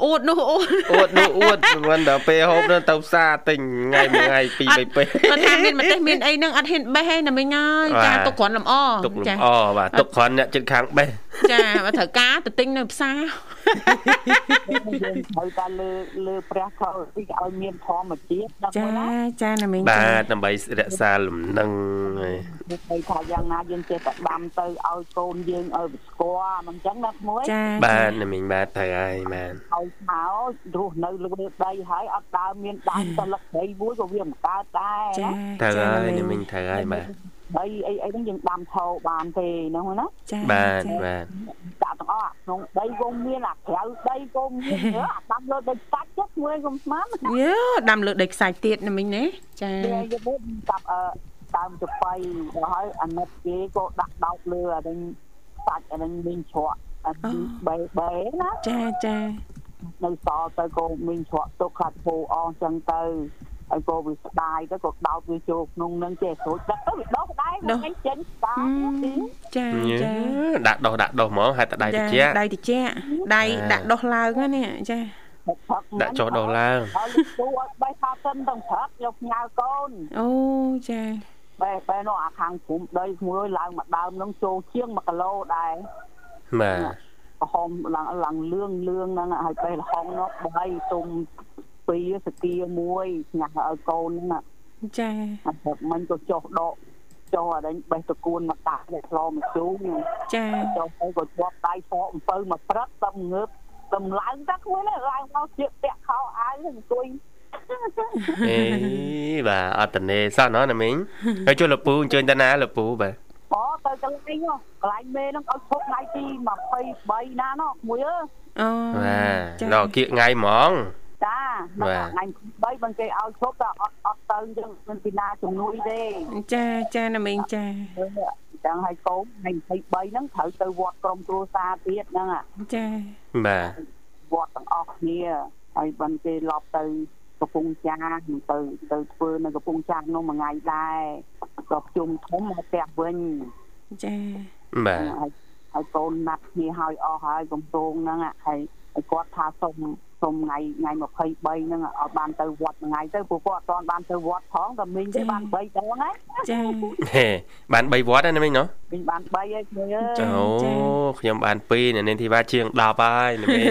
Speaker 5: អួតនោះអូត
Speaker 2: អួតនោះអួតមិនដល់ពេលហូបនឹងទៅផ្សារទិញថ្ងៃមួយថ្ងៃពីរបីពេល
Speaker 5: គាត់ថាមានម្ទេសមានអីហ្នឹងអត់ហ៊ានបេះឯណាមីងអើយចា
Speaker 2: បាទ
Speaker 5: ទុកគ្រាន់លម្អ
Speaker 2: ទុក
Speaker 5: ចា
Speaker 2: លំអបាទទុកគ្រាន់អ្នកចិត្តខាងបេះ
Speaker 5: ចាបើត្រូវការទៅទិញនៅផ្សារ
Speaker 4: យើងត្រូវតែលើលើព្រះខោទីឲ្យមានធម្មជាតិណាមួយណា
Speaker 5: ចាណាមីង
Speaker 2: បាទដើម្បីរក្សាលំនឹងហើយ
Speaker 4: និយាយថាយ៉ាងណាយើងចេះតែដាំទៅឲ្យកូនយើងឲ្យវាស្គាល់មិនអញ្ចឹងណាមួយ
Speaker 2: បាទណាមីងបាទត្រូវហើយបាទ
Speaker 4: ហើយខោរស់នៅលើដីហើយអត់ដើរមានដើមតែលឹកដីមួយក៏វាមិនកើតដែរណា
Speaker 2: ត្រូវហើយណាមីងត្រូវហើយបាទ
Speaker 4: ដីអីអីហ្នឹងយើងដាំថោបានទេហ្នឹងណា
Speaker 5: ចា
Speaker 2: បាទបាទ
Speaker 4: ដាក់ទាំងអស់អាក្នុងដីក៏មានអាក្រៅដីក៏មាន អាដាំលើដីកាច់ចឹងមួយកុំស្មាន
Speaker 5: យូដាំលើដីខ្សាច់ទៀតណាមិញណាចា
Speaker 4: វាយកមកចាប់អឺដើមចបៃទៅហើយអាណិតគេក៏ដាក់ដោតលើអាហ្នឹងសាច់អាហ្នឹងមានជ្រក់អាទីបែបែណា
Speaker 5: ចាចា
Speaker 4: នៅសល់ទៅក៏មានជ្រក់ទុកខាត់ពោអស់ចឹងទៅហើយក៏វាស្ដាយទៅក៏ដោតវាចូលក្នុងហ្នឹងចេះស្រួចដឹកទៅវាដោតដែរមិនអីចេញស្ដាយទី
Speaker 5: ចា
Speaker 2: ញ៉ា
Speaker 5: ចា
Speaker 2: ដាក់ដុសដាក់ដុសហ្មងហេតុតែដៃតិច
Speaker 5: ដៃតិចដៃ
Speaker 2: ចា
Speaker 5: ដាក់ដុសឡើងហ្នឹងនេះចា
Speaker 2: ដាក់ចុះដុសឡើង
Speaker 4: ហើយលោកគ្រូឲ្យបេះថាសិនទាំងព្រឹកយកផ្ញើកូន
Speaker 5: អូចា
Speaker 4: បេះបេះនោះអាខាងព្រំដីស្មួយឡើងមកដើមហ្នឹងចូលជាង1គីឡូដែរ
Speaker 2: បាទ
Speaker 4: ប្រហមឡើងឡើងលឿងលឿងហ្នឹងហើយបេះលហុងនោះបីទុំពីរសគាមួយញ៉ាំឲ្យកូនហ្នឹង
Speaker 5: ចា
Speaker 4: អាព្រឹកមិញក៏ចុះដកចុះអាដេញបេះតគួនមកដាក់តែឆ្លោមកជូរហ្នឹង
Speaker 5: ចា
Speaker 4: ចុះទៅក៏ជាប់ដៃសក់អំពៅមកព្រឹកទៅងើបទៅឡើងតែខ្លួនឯងឡើងមកជៀកពាក់ខោអាវហ្នឹងអង្គុយ
Speaker 2: អេបាទអត់តនេសោះណោះណាមីងហើយជួយលកពូអញ្ជើញតាណាលកពូបាទ
Speaker 4: អទៅកន្លែងហ្នឹងកន្លែងមេហ្នឹងឲ្យឈប់ថ្ងៃទី23ណាណោះមួយអើ
Speaker 5: អូ
Speaker 2: បាទ
Speaker 5: ដ
Speaker 2: ដល់គៀកថ្ងៃហ្មង
Speaker 4: ចា
Speaker 2: បា
Speaker 4: ថ្ងៃ
Speaker 2: ទ
Speaker 4: 23បងគេឲ្យឈប់តែអត់អត់ទៅយើងមិនពីណាជំនួយទេ
Speaker 5: ចាចាណាមិញចា
Speaker 4: អញ្ចឹងឲ្យកូនថ្ងៃ23ហ្នឹងត្រូវទៅវត្តក្រុមគ្រួសារទៀតហ្នឹងអា
Speaker 5: ចា
Speaker 2: បាទ
Speaker 4: វត្តទាំងអស់គ្នាហើយបានគេឡប់ទៅកំពង់ចាស់ទៅទៅធ្វើនៅកំពង់ចាស់នោះមួយថ្ងៃដែរក៏ជុំធំមកផ្ទះវិញ
Speaker 5: ចា
Speaker 2: បាទ
Speaker 4: ហើយហើយកូនណាត់គ្នាហើយអស់ហើយកំពង់ហ្នឹងអ่ะហើយហើយគាត់ថាសុំសុំថ្ងៃថ្ងៃ23ហ្នឹងអ่ะឲ្យបានទៅវត្តមួយថ្ងៃទៅព្រោះគាត់អត់ទាន់បានទៅវត្តផងតែមីងទេបាន3ដងហ្នឹង
Speaker 5: ចា
Speaker 2: ហេបាន3វត្តហើយណាមិញណោះ
Speaker 4: មីងបាន3ហើយគ្នាអើយ
Speaker 5: ចា
Speaker 2: អូខ្ញុំបាន2នៅនេនធីវ៉ាជាង10ហើយណាមិញ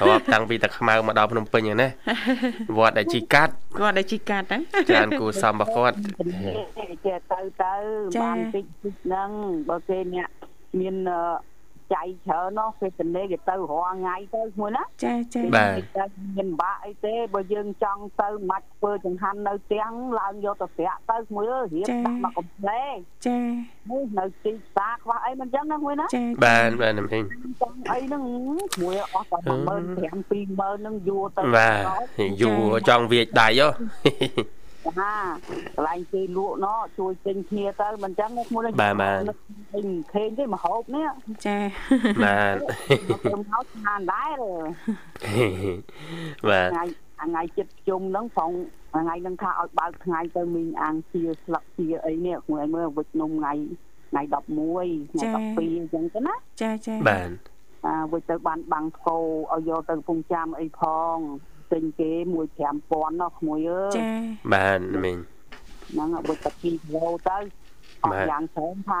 Speaker 2: រាប់តាំងពីតាខ្មៅមកដល់ភ្នំពេញហ្នឹងណាវត្តដែលជីកាត់
Speaker 5: គាត់ដែលជីកាត់ហ្នឹង
Speaker 2: ច្រើនគូសំរបស់គាត់
Speaker 4: ចេះទៅទៅបានតិចតិចហ្នឹងបើគេអ្នកមានអឺចៃច្រើននោះគេទៅនេះគេទៅរាល់ថ្ងៃទៅស្មួយណា
Speaker 5: ចាចា
Speaker 2: បាទ
Speaker 4: តែមានបាក់អីទេបើយើងចង់ទៅមិនធ្វើចង្ហាន់នៅផ្ទាំងឡើងយកទៅប្រាក់ទៅមួយអើយរៀបដាក់មកកំ pl ែ
Speaker 5: ចា
Speaker 4: មួយនៅទីផ្សារខ្វះអីមិនចឹងណាមួយណា
Speaker 5: ចា
Speaker 2: បានបានណាមិញ
Speaker 4: ចង់អីហ្នឹងមួយអស់តែ15000 20000ហ្នឹងយួរទៅ
Speaker 2: បាទយូរចង់វាចដៃហ៎
Speaker 4: ណាកន្លែងគេលក់ណោះជួយទិញគ្នាទៅមិនចឹងណាមួយ
Speaker 2: បាទបាទ
Speaker 4: ពេញខេងទេមកហូបនេះ
Speaker 5: ចា
Speaker 2: បាទ
Speaker 4: មកទៅមកស្មានដែរ
Speaker 2: បាទ
Speaker 4: ថ្ងៃថ្ងៃចិត្តជុំហ្នឹងផងថ្ងៃហ្នឹងថាឲ្យបើកថ្ងៃទៅមីងអាំងជាស្លឹកជាអីនេះខ្លួនឯងមើលវិចនំថ្ងៃថ្ងៃ11ថ្ងៃ12អញ្ចឹងទៅណា
Speaker 5: ចាចា
Speaker 2: បាទ
Speaker 4: វិចទៅបានបាំងធោឲ្យយកទៅពងចាំអីផងទិញគេ15000ណោះក្មួយអើយ
Speaker 3: ចា
Speaker 2: បាទមីង
Speaker 4: ហ្នឹងវិចទៅ2គីឡូទៅអ
Speaker 2: បា
Speaker 4: ស់
Speaker 2: ទ
Speaker 4: យ៉ាងច្រើនថា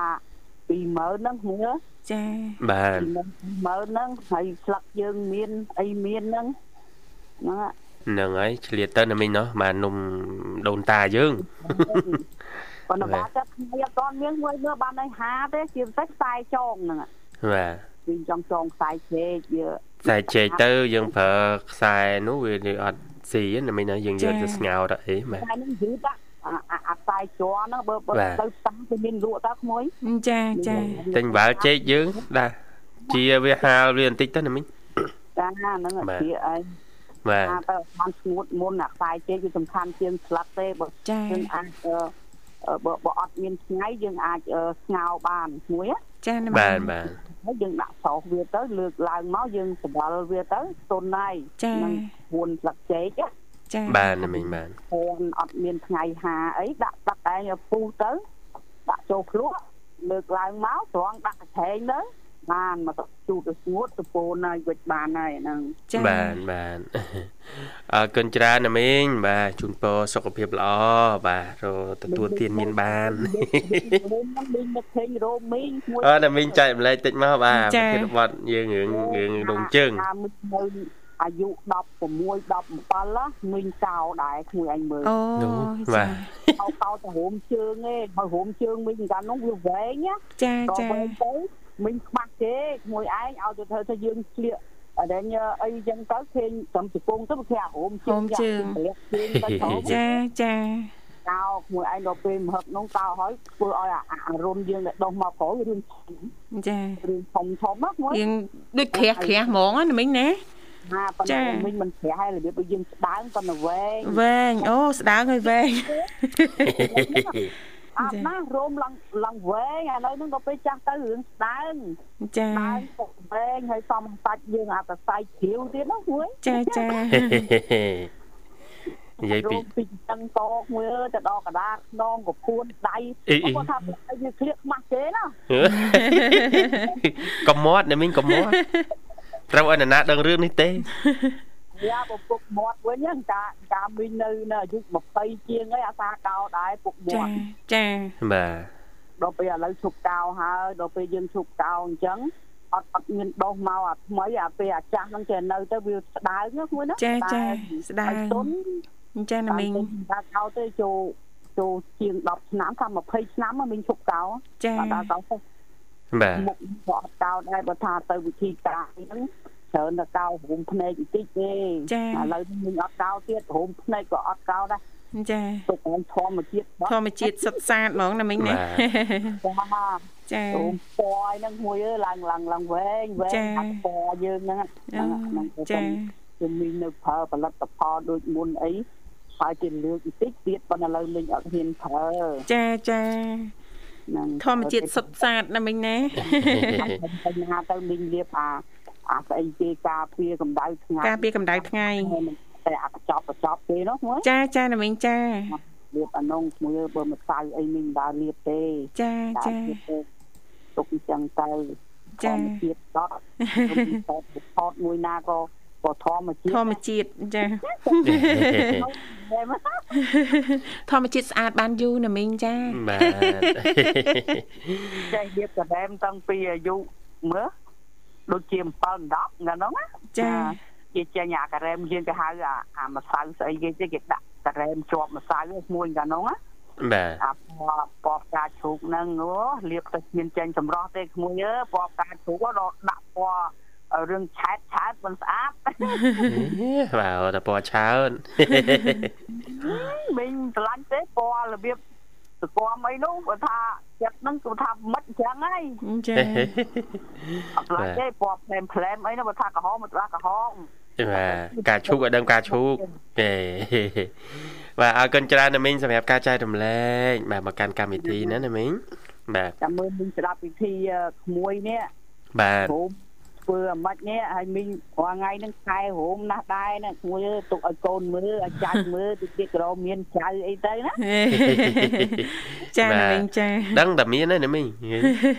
Speaker 4: 20000ហ្នឹងក្មួយអើយ
Speaker 3: ចា
Speaker 2: បាទ
Speaker 4: ពីមុនមើលហ្នឹងហើយស្លឹកយើងមានអីមានហ្នឹងហ្នឹង ហើយ
Speaker 2: ហ្នឹងហើយឆ្លៀតទៅណាមីងណោះបាទនំដូនតាយើង
Speaker 4: ប៉ុន្តែ
Speaker 2: បាទ
Speaker 4: បាទចិត្តខ្ញុំអត់ទាន់មានមួយមើលបានឲ្យហាទេជាពិសេសខ្សែចងហ្នឹង
Speaker 2: បាទ
Speaker 4: វិញចង់ចងខ្សែជែកយើ
Speaker 2: ខ្សែជែកទៅយើងប្រើខ្សែនោះវានេះអត់ស៊ីណាមីងណាយើងយកទៅស្ងោរអីបាទ
Speaker 4: ខ្សែហ្នឹងយឺតណាស់អាអាអាខ្សែជ័រហ្នឹងបើបើ
Speaker 2: បាទ
Speaker 4: ទៅតាំងទៅមានលក់តើក្មួយ
Speaker 3: ចាចា
Speaker 2: ទិញបាល់ជែកយើងដែរជាវាហាលវាបន្តិចទៅណាមីង
Speaker 4: ចាហ្នឹង
Speaker 2: បាទ
Speaker 4: ជាអី
Speaker 2: បាទ
Speaker 4: ថាទៅបានស្ងួតមុនអាខ្សែជែកវាសំខាន់ជាងស្លឹកទេបើ
Speaker 3: ចា
Speaker 4: យើងអាចអឺអឺបើបើអត់មានថ្ងៃយើងអាចអឺស្ងោរបានក្មួយណា
Speaker 3: ចាណាមីង
Speaker 2: បាទបាទ
Speaker 4: ហើយយើងដាក់សោសវាទៅលើកឡើងមកយើងសម្បល់វាទៅទុនហើយ
Speaker 3: ចា
Speaker 4: នឹងពួនស្លឹកចេកណា
Speaker 3: ចា
Speaker 2: បាទណាមីងបាទ
Speaker 4: ពួនអត់មានថ្ងៃហាអីដាក់ស្លឹកឯងឲ្យពុះទៅដាក់ចូលភ្លក់លើកឡើងមកត្រង់ដាក់កញ្ឆេងទៅបានមកជូតទៅស្ងួតទៅពួនហើយវិចបានហើយអាហ្នឹង
Speaker 3: ចា
Speaker 2: បាទបាទ អរគុណច្រើនណាមីងបាទជូនពរសុខភាពល្អបាទរកទទួលទានមានបាន
Speaker 4: មុំហ្នឹងលេងមកឃើញរោមមីងមួយ
Speaker 2: អរណាមីងចែកម្លែកតិចមកបាទប្រធានបទយើងរឿងរឿងដង ជើង
Speaker 4: ថាមីងនៅអាយុ16 17ណាមីងកោដែរគួយឯងមើល
Speaker 3: អូ
Speaker 2: នោះ
Speaker 3: ចា
Speaker 2: បាទ
Speaker 4: អោកោតទៅរោមជើងឯងហើយរោមជើងមិញកាលនោះវាវែងណា
Speaker 3: ចា
Speaker 4: ត
Speaker 3: ចា
Speaker 4: វែងទៅមិញខ្មាស់គេមួយឯងឲ្យទៅធ្វើថាយើងស្លៀកអរញអីចឹងទៅឃើញត្រឹមជពងទៅវាគេអារោមជើងស្លៀកជើងទៅចូល
Speaker 3: ចាចា
Speaker 4: កោមួយឯងដល់ពេលមហឹកនោះកោហើយធ្វើឲ្យអារោមយើងដោះមកក្រោយរឿង
Speaker 3: ចា
Speaker 4: រឿងធំធំណាមួយ
Speaker 3: យើងដូចក្រាស់ក្រាស់ហ្មងណាមីងណា
Speaker 4: ហាប៉ុន្តែមិញមិនប្រែហើយរបៀបយើងស្ដើងប៉ុន្តែវែង
Speaker 3: វែងអូស្ដើងហើយវែង
Speaker 4: អត់ណារោមឡើងឡើងវែងឥឡូវហ្នឹងដល់ពេលចាស់ទៅរឿងស្ដើង
Speaker 3: ចា
Speaker 4: ដើរពុកបែងហើយសំសាច់យើងអាសរសៃជ្រាវទៀតណាមួយ
Speaker 3: ចាចា
Speaker 2: និយាយពី
Speaker 4: រោមពីចឹងតកមួយអើយទៅដល់កណ្ដាលខ្នងកពួនដៃ
Speaker 2: អីអី
Speaker 4: គាត់ថាឲ្យវាឃ្លៀកខ្មាស់គេណា
Speaker 2: កំមាត់ណាមីងកំមាត់ត្រូវឲ្យនរណាដឹងរឿងនេះទេ
Speaker 4: វាពពុកមាត់វិញហ្នឹងចាចាមីងនៅនៅអាយុ20ជាងហើយអាសាកោដែរពុកមា
Speaker 3: ចា
Speaker 4: ត់
Speaker 3: ចា
Speaker 2: បាទ
Speaker 4: ដល់ពេលឥឡូវឈប់កោហើយដល់ពេលយើងឈប់កោអញ្ចឹងអត់អត់មានដោះមកអាថ្មីអាពេលអាចាស់ហ្នឹងចេះនៅទៅវាស្ដើងណាមួយណា
Speaker 3: ចាចាស្ដើ
Speaker 4: ហើយ
Speaker 3: ង
Speaker 4: ទុន
Speaker 3: ចាណាមីង
Speaker 4: ដល់កោទៅចូលចូលជាង10ឆ្នាំថា20ឆ្នាំមកមីងឈប់កោ
Speaker 3: ចា
Speaker 4: ដល់ដល់កោ
Speaker 2: បាទ
Speaker 4: មុខក៏អត់កោដែរបើថាទៅវិធីការហ្នឹងច្រើនតែកោរុំភ្នែកបន្តិចទេឥឡូវមីងអត់កោទៀតរុំភ្នែកក៏អត់កោដែរ
Speaker 3: ចា
Speaker 4: ទុកឲ្យធម្មជាតិប
Speaker 3: ធម្មជាតិសុទ្ធសាធហ្មងណាមីងណា
Speaker 2: បាទ
Speaker 4: ោះ
Speaker 3: ចា
Speaker 4: រុំពណ៌ហ្នឹងមួយអើឡើងឡើងឡើងវែងវែងអត់ពណ៌យើងហ្នឹង
Speaker 3: អូចា
Speaker 4: គឺមីងនៅប្រើផលិតផលដូចមុនអីហើយគេលើកបន្តិចទៀតប៉ុន្តែឥឡូវមីងអត់ហ៊ានប្រើ
Speaker 3: ចាចា
Speaker 4: ហ្នឹង
Speaker 3: ធម្មជាតិសុទ្ធសាធណាមីងណា
Speaker 4: ទៅណាទៅមីងលៀបអាអាស្អីគេការពារកម្ដៅថ្ងៃ
Speaker 3: ការពារកម្ដៅថ្ងៃ
Speaker 4: តែអាកញ្ចប់កញ្ចប់គេនោះមួយ
Speaker 3: ចាចាណាមីងចា
Speaker 4: លៀបអានងមួយបើមិនស្អាតអីមីងមិនដើរលៀបទេ
Speaker 3: ចាចា
Speaker 4: ដើរលៀបទេទុកអញ្ចឹងទៅ
Speaker 3: ចា
Speaker 4: ធម្មជាតិដកទៅផតមួយណាក៏ក៏ធម្មជាតិ
Speaker 3: ធម្មជាតិចា
Speaker 4: ដែរមក
Speaker 3: ធម្មជាតិស្អាតបានយូរណាមីងចា
Speaker 2: បាទ
Speaker 4: ចេះលៀបកណ្ដែមតាំងពីអាយុមើលដូចជា7 10ហ្នឹងណា
Speaker 3: ចា
Speaker 4: គេចេញអាការ៉េមយើងគេហៅអាអាម្សៅស្អីគេទេគេដាក់ការ៉េមជាប់ម្សៅហ្នឹងមួយកាលនោះណា
Speaker 2: បាទ
Speaker 4: អាពណ៌ពណ៌ផ្កាជ្រូកហ្នឹងអូលៀបទៅមានចេញចម្រោះទេក្មួយអើយពណ៌ផ្កាជ្រូកដល់ដាក់ពណ៌រឿងឆែតឆែតមិនស្អា ត
Speaker 2: បាទតែពណ៌ឆើត
Speaker 4: មិញស្រឡាញ់ទេពណ៌របៀបសគមអីនោះគាត់ថាចិត្តហ្នឹងគាត់ថាមិនអញ្ចឹងហើយ
Speaker 3: ចា
Speaker 4: អត់ស្រឡាញ់ទេពណ៌ផ្លែមផ្លែមអីនោះគាត់ថាក្រហមមិនស្អាតក្រហម
Speaker 2: បាទការឈូកឲ្យដឹងការឈូកទេបាទអរគុណច្រើនណាមីងសម្រាប់ការចែករំលែកបាទមកកាន់កម្មវិធីណាណាមីងបាទ
Speaker 4: តែមើលមិញស្ដាប់ពិធីអឺក្មួយនេះ
Speaker 2: បាទ
Speaker 4: រោមធ្វើអាម៉េចនេះឲ្យមីងរាល់ថ្ងៃហ្នឹងខែរោមណាស់ដែរណាមួយអើយទុកឲ្យកូនមើលឲ្យចាច់មើលតិចទៀតក៏មានចៅអីទៅណា
Speaker 3: ចាណាមីងចា
Speaker 2: ដឹងតែមានណាណាមីង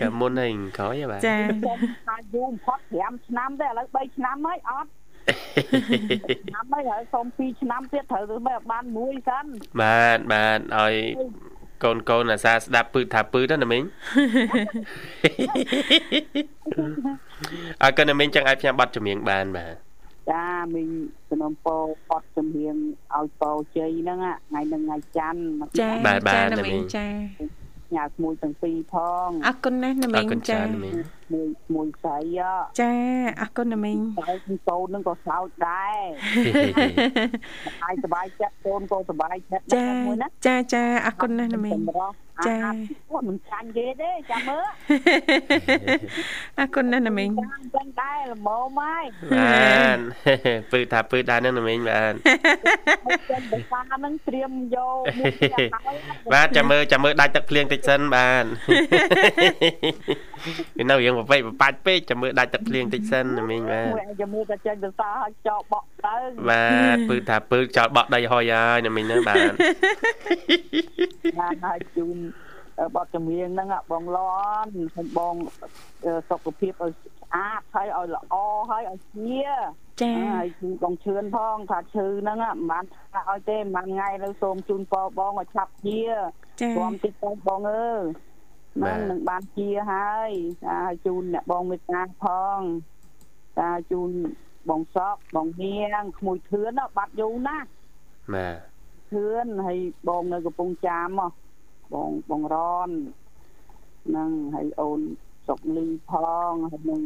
Speaker 2: កាលមុនហ្នឹងក្រោយហ៎បាទ
Speaker 3: ចា
Speaker 4: ខ្ញុំថា យូរផុត5ឆ្នាំទេឥឡូវ3ឆ្នាំហើយអត់ឆ្នាំហើយហើយសូម2ឆ្នាំទៀតត្រូវទៅបែបបានមួយសិន
Speaker 2: បាទបាទឲ្យកូនកូនអាសាស្ដាប់ពឺថាពឺទៅណាមីង អើកូនណាមីងចឹងអាចផ្សាយប័ណ្ណចម្រៀងបានបាទ
Speaker 4: ចាមីងសនំពោបត់ចម្រៀងឲ្យពោជ័យហ្នឹងថ្ងៃនឹងថ្ងៃច័ន្ទមក
Speaker 5: ចា
Speaker 2: បាទបាទ
Speaker 5: ណា
Speaker 2: ណា
Speaker 5: មី
Speaker 2: មី
Speaker 5: ង
Speaker 2: ង
Speaker 5: ចា
Speaker 4: ញ៉ាំមួយទាំងពីរផង
Speaker 5: អរគុណណាស់ណា
Speaker 2: អ
Speaker 5: មី
Speaker 2: រគុ
Speaker 5: ង
Speaker 2: ណ
Speaker 5: ចា
Speaker 2: ច្រើនណាមីង
Speaker 4: មួយមួយស្រីអ่ะ
Speaker 5: ចាអរគុណណាមីង
Speaker 4: ហើ យកូនហ្នឹងក៏សោចដែរហើយសុបាយចិត្តកូនក៏សុបាយចិត្ត
Speaker 5: ចា
Speaker 4: ដែរមួយណា
Speaker 5: ចាចាអរគុណណាស់ណាមីង
Speaker 4: ចម្រោះ
Speaker 5: ចា
Speaker 4: អាហារគាត់មិនចាញ់គេទេចាំមើល
Speaker 5: អរគុណណាស់ណាមីង
Speaker 4: ចាំចឹងដែរល្មម ហើយ
Speaker 2: បាទ ពឺថាពឺដែរហ្នឹងណាមីងបាទ
Speaker 4: មកចឹងភាសាហ្នឹងត្រៀមយកមួយទៀតហើយ
Speaker 2: បាទចាំមើលចាំមើលដាច់ទឹកភ្លៀងតិចសិនបាទ វានៅរឿងប្រប៉ៃប្រប៉ាច់ពេកចាំមើលដាច់ទឹកភ្លៀងតិចសិនណាមីងបាទ
Speaker 4: មួយអាយមួយក៏ចេញភាសាឲ្យចោលបក់ទៅ
Speaker 2: បាទពឺថាពឺចោលបក់ដីហុយហើយណាមីងណាបាទ
Speaker 4: បានហើយជូនអឺបទចម្រៀងហ្នឹងអាបងលន់ហើយបងអឺសុខភាពឲ្យស្អាតហើយឲ្យល្អហើយឲ្យជា
Speaker 5: ចា
Speaker 4: ហើយជូនបងឈឿនផងថាឈឺហ្នឹងអាមិនបានថាឲ្យទេមិនថ្ងៃនៅសូមជូនពរបងឲ្យឆាប់ជា
Speaker 5: ចា
Speaker 4: ព្រមតិចទៅបងអើយ
Speaker 2: បា
Speaker 4: មិន
Speaker 2: ទ
Speaker 4: នឹងបានជាហើយចាឲ្យជូនអ្នកបងមេត្តាផងចាជូនបងសក់បងនាងក្មួយធឿនណាបាត់យូរណាស់
Speaker 2: បាទ
Speaker 4: ធឿនហើយបងនៅកំពង់ចាមហ៎បងបងរនហ្នឹងហើយអូនសុកលីផងហើយនឹង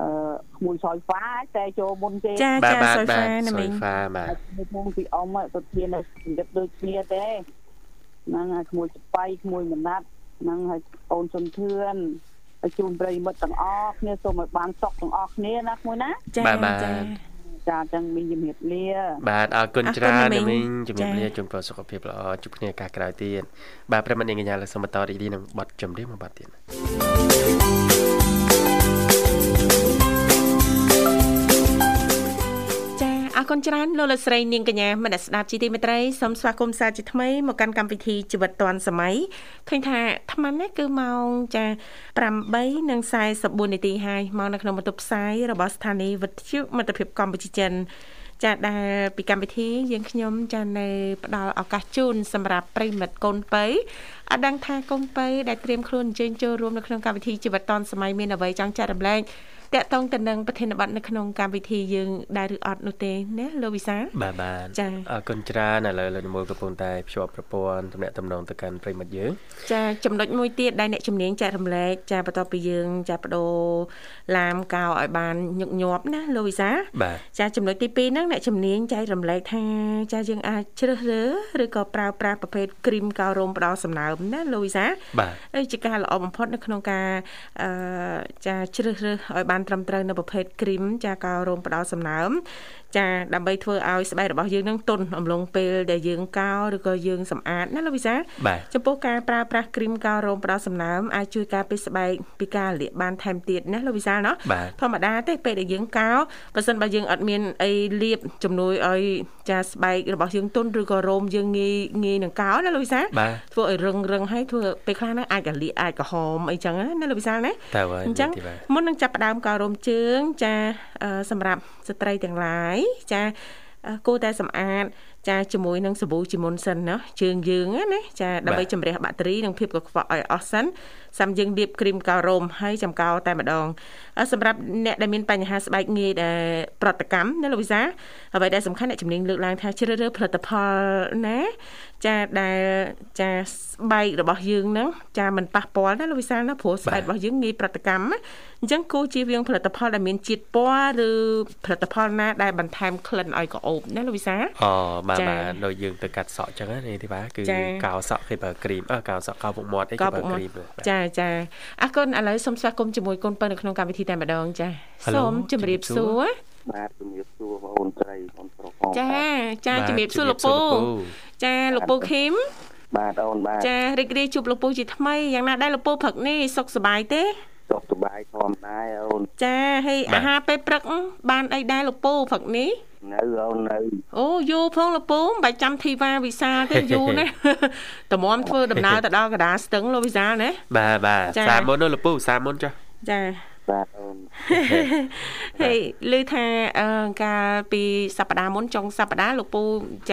Speaker 4: អឺក្មួយសយហ្វាតែចូលមុនគេ
Speaker 5: ចា
Speaker 2: បាទ
Speaker 5: ចា
Speaker 2: បាទ
Speaker 5: សុយ
Speaker 2: បាទ
Speaker 5: ហ្វាណា
Speaker 2: សុ
Speaker 5: មី
Speaker 2: យ
Speaker 5: ង
Speaker 2: ហ្វាបាទ
Speaker 4: ហើយក្នុងពីអ៊ំទៅធានជីវិតដូចគ្នាទេហ្នឹងហើយក្មួយស្បៃក្មួយមណាត់ហ្នឹងហើយអូនសុនធឿនហើយជូនប្រិយមិត្តទាំងអស់គ្នាសូមឲ្យបានសុខទាំងអស់គ្នាណាក្មួយណា
Speaker 5: ចា
Speaker 2: បាទបាទ
Speaker 5: ចា
Speaker 4: ចាអញ្ចឹងមានជំរាបលា
Speaker 2: បាទអរគុណ
Speaker 5: អរគុណ
Speaker 2: ច្រើន
Speaker 5: ណា
Speaker 2: ណា
Speaker 5: មី
Speaker 2: មី
Speaker 5: ង
Speaker 2: ងជំរាប
Speaker 5: ចា៎
Speaker 2: លាជូនពរសុខភាពល្អជួបគ្នាឱកាសក្រោយទៀតបាទប្រិមត្តនាងកញ្ញាលោកសូមបន្តរីករាយនឹងបទចម្រៀងមួយបទទៀត
Speaker 5: ចាអរគុណច្រើនលោកលោកស្រីនាងកញ្ញាមនស្សស្ដាប់ជីទីមេត្រីសូមស្វាគមន៍សាជាថ្មីមកកាន់កម្មវិធីជីវិតឌွန်សម័យឃើញថាអាត្មានេះគឺម៉ោងចា8:44នាទីហើយមកនៅក្នុងបន្ទប់ផ្សាយរបស់ស្ថានីយ៍វិទ្យុមិត្តភាពកម្ពុជាចិន ចាដែលពីកម្មវិធីយើងខ្ញុំចានៅផ្ដល់ឱកាសជូនសម្រាប់ប្រិយមិត្តកូនពៅអត់ដឹងថាកូនពៅដែលត្រៀមខ្លួនអញ្ជើញចូលរួមនៅក្នុងកម្មវិធីជីវិតឌွန်សម័យមានអ្វីចង់ចែករំលែកតកតងទៅនឹងប្រធានបတ်នៅក្នុងកម្មវិធីយើងដែរឬអត់នោះទេណាលោកវិសាល
Speaker 2: បាទបាទ
Speaker 5: ចា៎
Speaker 2: អរគុណច្រើនឥឡូវលោកនិមលកំពុងតែភ្ជាប់ប្រព័ន្ធទំនាក់ទំនងទៅកាន់ប្រិមត្តយើង
Speaker 5: ចាចំណុចមួយទៀតដែលអ្នកជំនាញចែករំលែកចាបន្ទាប់ពីយើងចាបដូរឡាមកោឲ្យបានញឹកញាប់ណាលោកវិសាល
Speaker 2: បាទ
Speaker 5: ចាចំណុចទី2ហ្នឹងអ្នកជំនាញចែករំលែកថាចាយើងអាចជ្រើសរើសឬក៏ប្រើប្រាស់ប្រភេទគ្រីមកោរោមផ្ដល់សំណើមណាលូវីសា
Speaker 2: បាទ
Speaker 5: អីជាការល្អបំផុតនៅក្នុងការអឺចាជ្រើសរើសឲ្យបានត្រឹមត្រូវនៅប្រភេទគ្រីមចាកោរោមផ្ដល់សំណើមចាដើម្បីធ្វើឲ្យស្បែករបស់យើងនឹងទន់អំឡុងពេលដែលយើងកោរឬក៏យើងសម្អាតណាលូវីសា
Speaker 2: បាទ
Speaker 5: ចំពោះការប្រើប្រាស់គ្រីមកោររោមផ្ដល់សំណើមអាចជួយការពារស្បែកពីការលាកបានថែមទៀតណាលោកវិសាលណា
Speaker 2: បាទ
Speaker 5: ធម្មតាទេពេលដែលយើងកោបើសិនបើយើងអត់មានអីលាបជំនួយឲ្យចាស្បែករបស់យើងទន់ឬក៏រោមយើងងាយងាយនឹងកោណាលោកវិសាល
Speaker 2: បាទ
Speaker 5: ធ្វើឲ្យរឹងរឹងហើយធ្វើពេលខ្លះហ្នឹងអាចរលាកអាចក្រហមអីចឹងណាណាលោកវិសាលណា
Speaker 2: តើហើយ
Speaker 5: អញ្ចឹង
Speaker 2: នេះទេបាទ
Speaker 5: មុននឹងចាប់ផ្ដើមកោររោមជើងចាអឺសម្រាប់ស្ត្រីទាំងឡាយចាអឺគួរតែសម្អាតចាជាមួយនឹងសាប៊ូជាមុនសិនណាជើងយើងណាណាចាដើម្បីជំរះបាក់តេរីនិងភាពកខ្វក់ឲ្យអស់សិនសាំយើងលាបគ្រីមកោររោមហើយចំកោរតែម្ដងអឺសម្រាប់អ្នកដែលមានបញ្ហាស្បែកងាយដែលប្រតិកម្មណាលោកវិសាអ្វីដែលសំខាន់អ្នកជំនាញលើកឡើងថាជ្រើសរើសផលិតផលណាចាដែលចាស្បែករបស់យើងហ្នឹងចាមិនប៉ះពាល់ណាលោកវិសាណាព្រោះស្បែករបស់យើងងាយប្រតិកម្មណា អញ្ចឹងគូជៀសវាងផលិតផលដែលមានជាតិពណ៌ឬផលិតផលណាដែលបន្ថែមក្លិនឲ្យក្រអូបណាលោកវិសា
Speaker 2: អូបាទ
Speaker 5: ចា៎
Speaker 2: បាទដូចយើងទៅកាត់សក់អញ្ចឹងណានេះទេបាទគឺ
Speaker 5: ចា៎
Speaker 2: កោរសក់គេប្រើគ្រីមអើកោរសក់កោរពុកមាត់អីគេប្រើគ្រីមបាទ
Speaker 5: ចាចាអរគុណឥឡូវសូមស្វាគមន៍ជាមួយកូនពៅនៅក្នុងកម្មវិធីតែម្ដងចា
Speaker 2: ហៅ
Speaker 5: សូមជម្រាប
Speaker 2: ជម្រាបសួ
Speaker 5: សួ
Speaker 2: រ
Speaker 5: រ
Speaker 3: បាទជំរាបសួរបងអូនស្រីបងប្រុសផង
Speaker 5: ចាចា
Speaker 2: បាទ
Speaker 5: ជម្រាបសួ
Speaker 2: ជ
Speaker 5: រ
Speaker 2: ម្រាប
Speaker 5: លោកពូ
Speaker 2: សួរលោកពូ
Speaker 5: ចាលោកពូឃីម
Speaker 3: បាទអូនបាទ
Speaker 5: ចារីករាយជួបលោកពូជាថ្មីយ៉ាងណាដែរលោកពូព្រឹកនេះសុខសប្បាយទេ
Speaker 3: សុខសប្បាយធម្មតាអូន
Speaker 5: ចាហើយ
Speaker 2: បាទ
Speaker 5: អាហារពេលព្រឹកបានអីដែរលោកពូព្រឹកនេះ
Speaker 3: នៅអូននៅ
Speaker 5: អូយូរផងលោកពូមិនបាច់ចាំធីវ៉ាវិសាលទេយូរ ណាស់ តម្រាំធ្វើដំណើរទៅដល់កណ្ដាលស្ទឹងលោកវិសាលណា
Speaker 2: បាទបាទ
Speaker 5: ចា៎
Speaker 2: សាមុននោះលកពូសាមុនចុះ
Speaker 5: ចា
Speaker 6: បាទអូន
Speaker 3: ហើយឮថាអឺកាលពីសប្តាហ៍មុនចុងសប្តាហ៍លោកពូ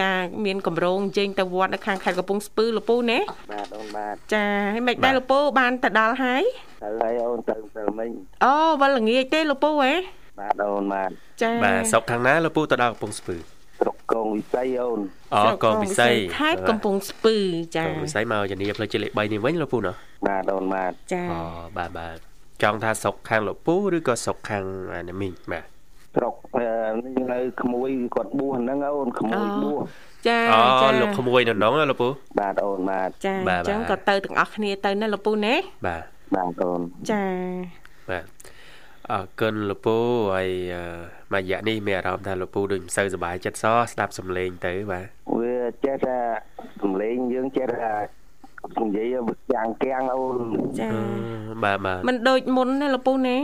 Speaker 3: ចាមានកម្រោងជើញទៅវត្តនៅខាងខេត្តកំពង់ស្ពឺលោកពូណា
Speaker 6: បាទអូនបាទ
Speaker 3: ចាហើយមិនដែរលោកពូបានទៅដល់ហើយ
Speaker 6: ទៅហើយអូនទៅទៅមិញ
Speaker 3: អូវិលល្ងាចទេលោកពូហ៎
Speaker 6: បាទអូនបាទ
Speaker 3: ចា
Speaker 2: បាទស្រុកខាងណាលោកពូទៅដល់កំពង់ស្ពឺ
Speaker 6: ស្រុកកងវិស័យអូន
Speaker 2: អូ
Speaker 3: ស្រុ
Speaker 2: កងពិសី
Speaker 3: ខេត្តកំពង់ស្ពឺចា
Speaker 2: កងពិសីមកជំនាញផ្លូវជាតិលេខ3នេះវិញលោកពូណា
Speaker 6: បាទអូនបាទ
Speaker 3: ចា
Speaker 2: អូបាទបាទចង់ថាស្រុកខាងលោកពូឬក៏ស្រុកខាងអានេះមីងបាទ
Speaker 6: ស្រុកអឺនេះនៅក្មួយគាត់បួសហ្នឹងអូនក្មួយបួស
Speaker 3: ចា
Speaker 2: អូ
Speaker 3: ចា
Speaker 2: លោកក្មួយនៅនងណាលោកពូ
Speaker 6: បាទអូនបាទ
Speaker 3: ចាអ
Speaker 2: បាទ
Speaker 3: ញ្ចឹងក៏ទៅទាំងអស់គ្នាទៅណាលោកពូណា
Speaker 2: បាទ
Speaker 6: បាទអូន
Speaker 3: ចា
Speaker 2: បាទអរគុណលោកពូហើយអឺមួយរយៈនេះមានអារម្មណ៍ថាលោកពូដូចមិនសូវសប្បាយចិត្តសោះស្ដាប់សំឡេងទៅបាទ
Speaker 6: វាចេះថាសំឡេងយើងចេះថានិយាយវាយ៉ាងកៀងអូន
Speaker 3: ចា
Speaker 2: បាទបាទ
Speaker 3: ມັນដូចមុនណាលោកពូណា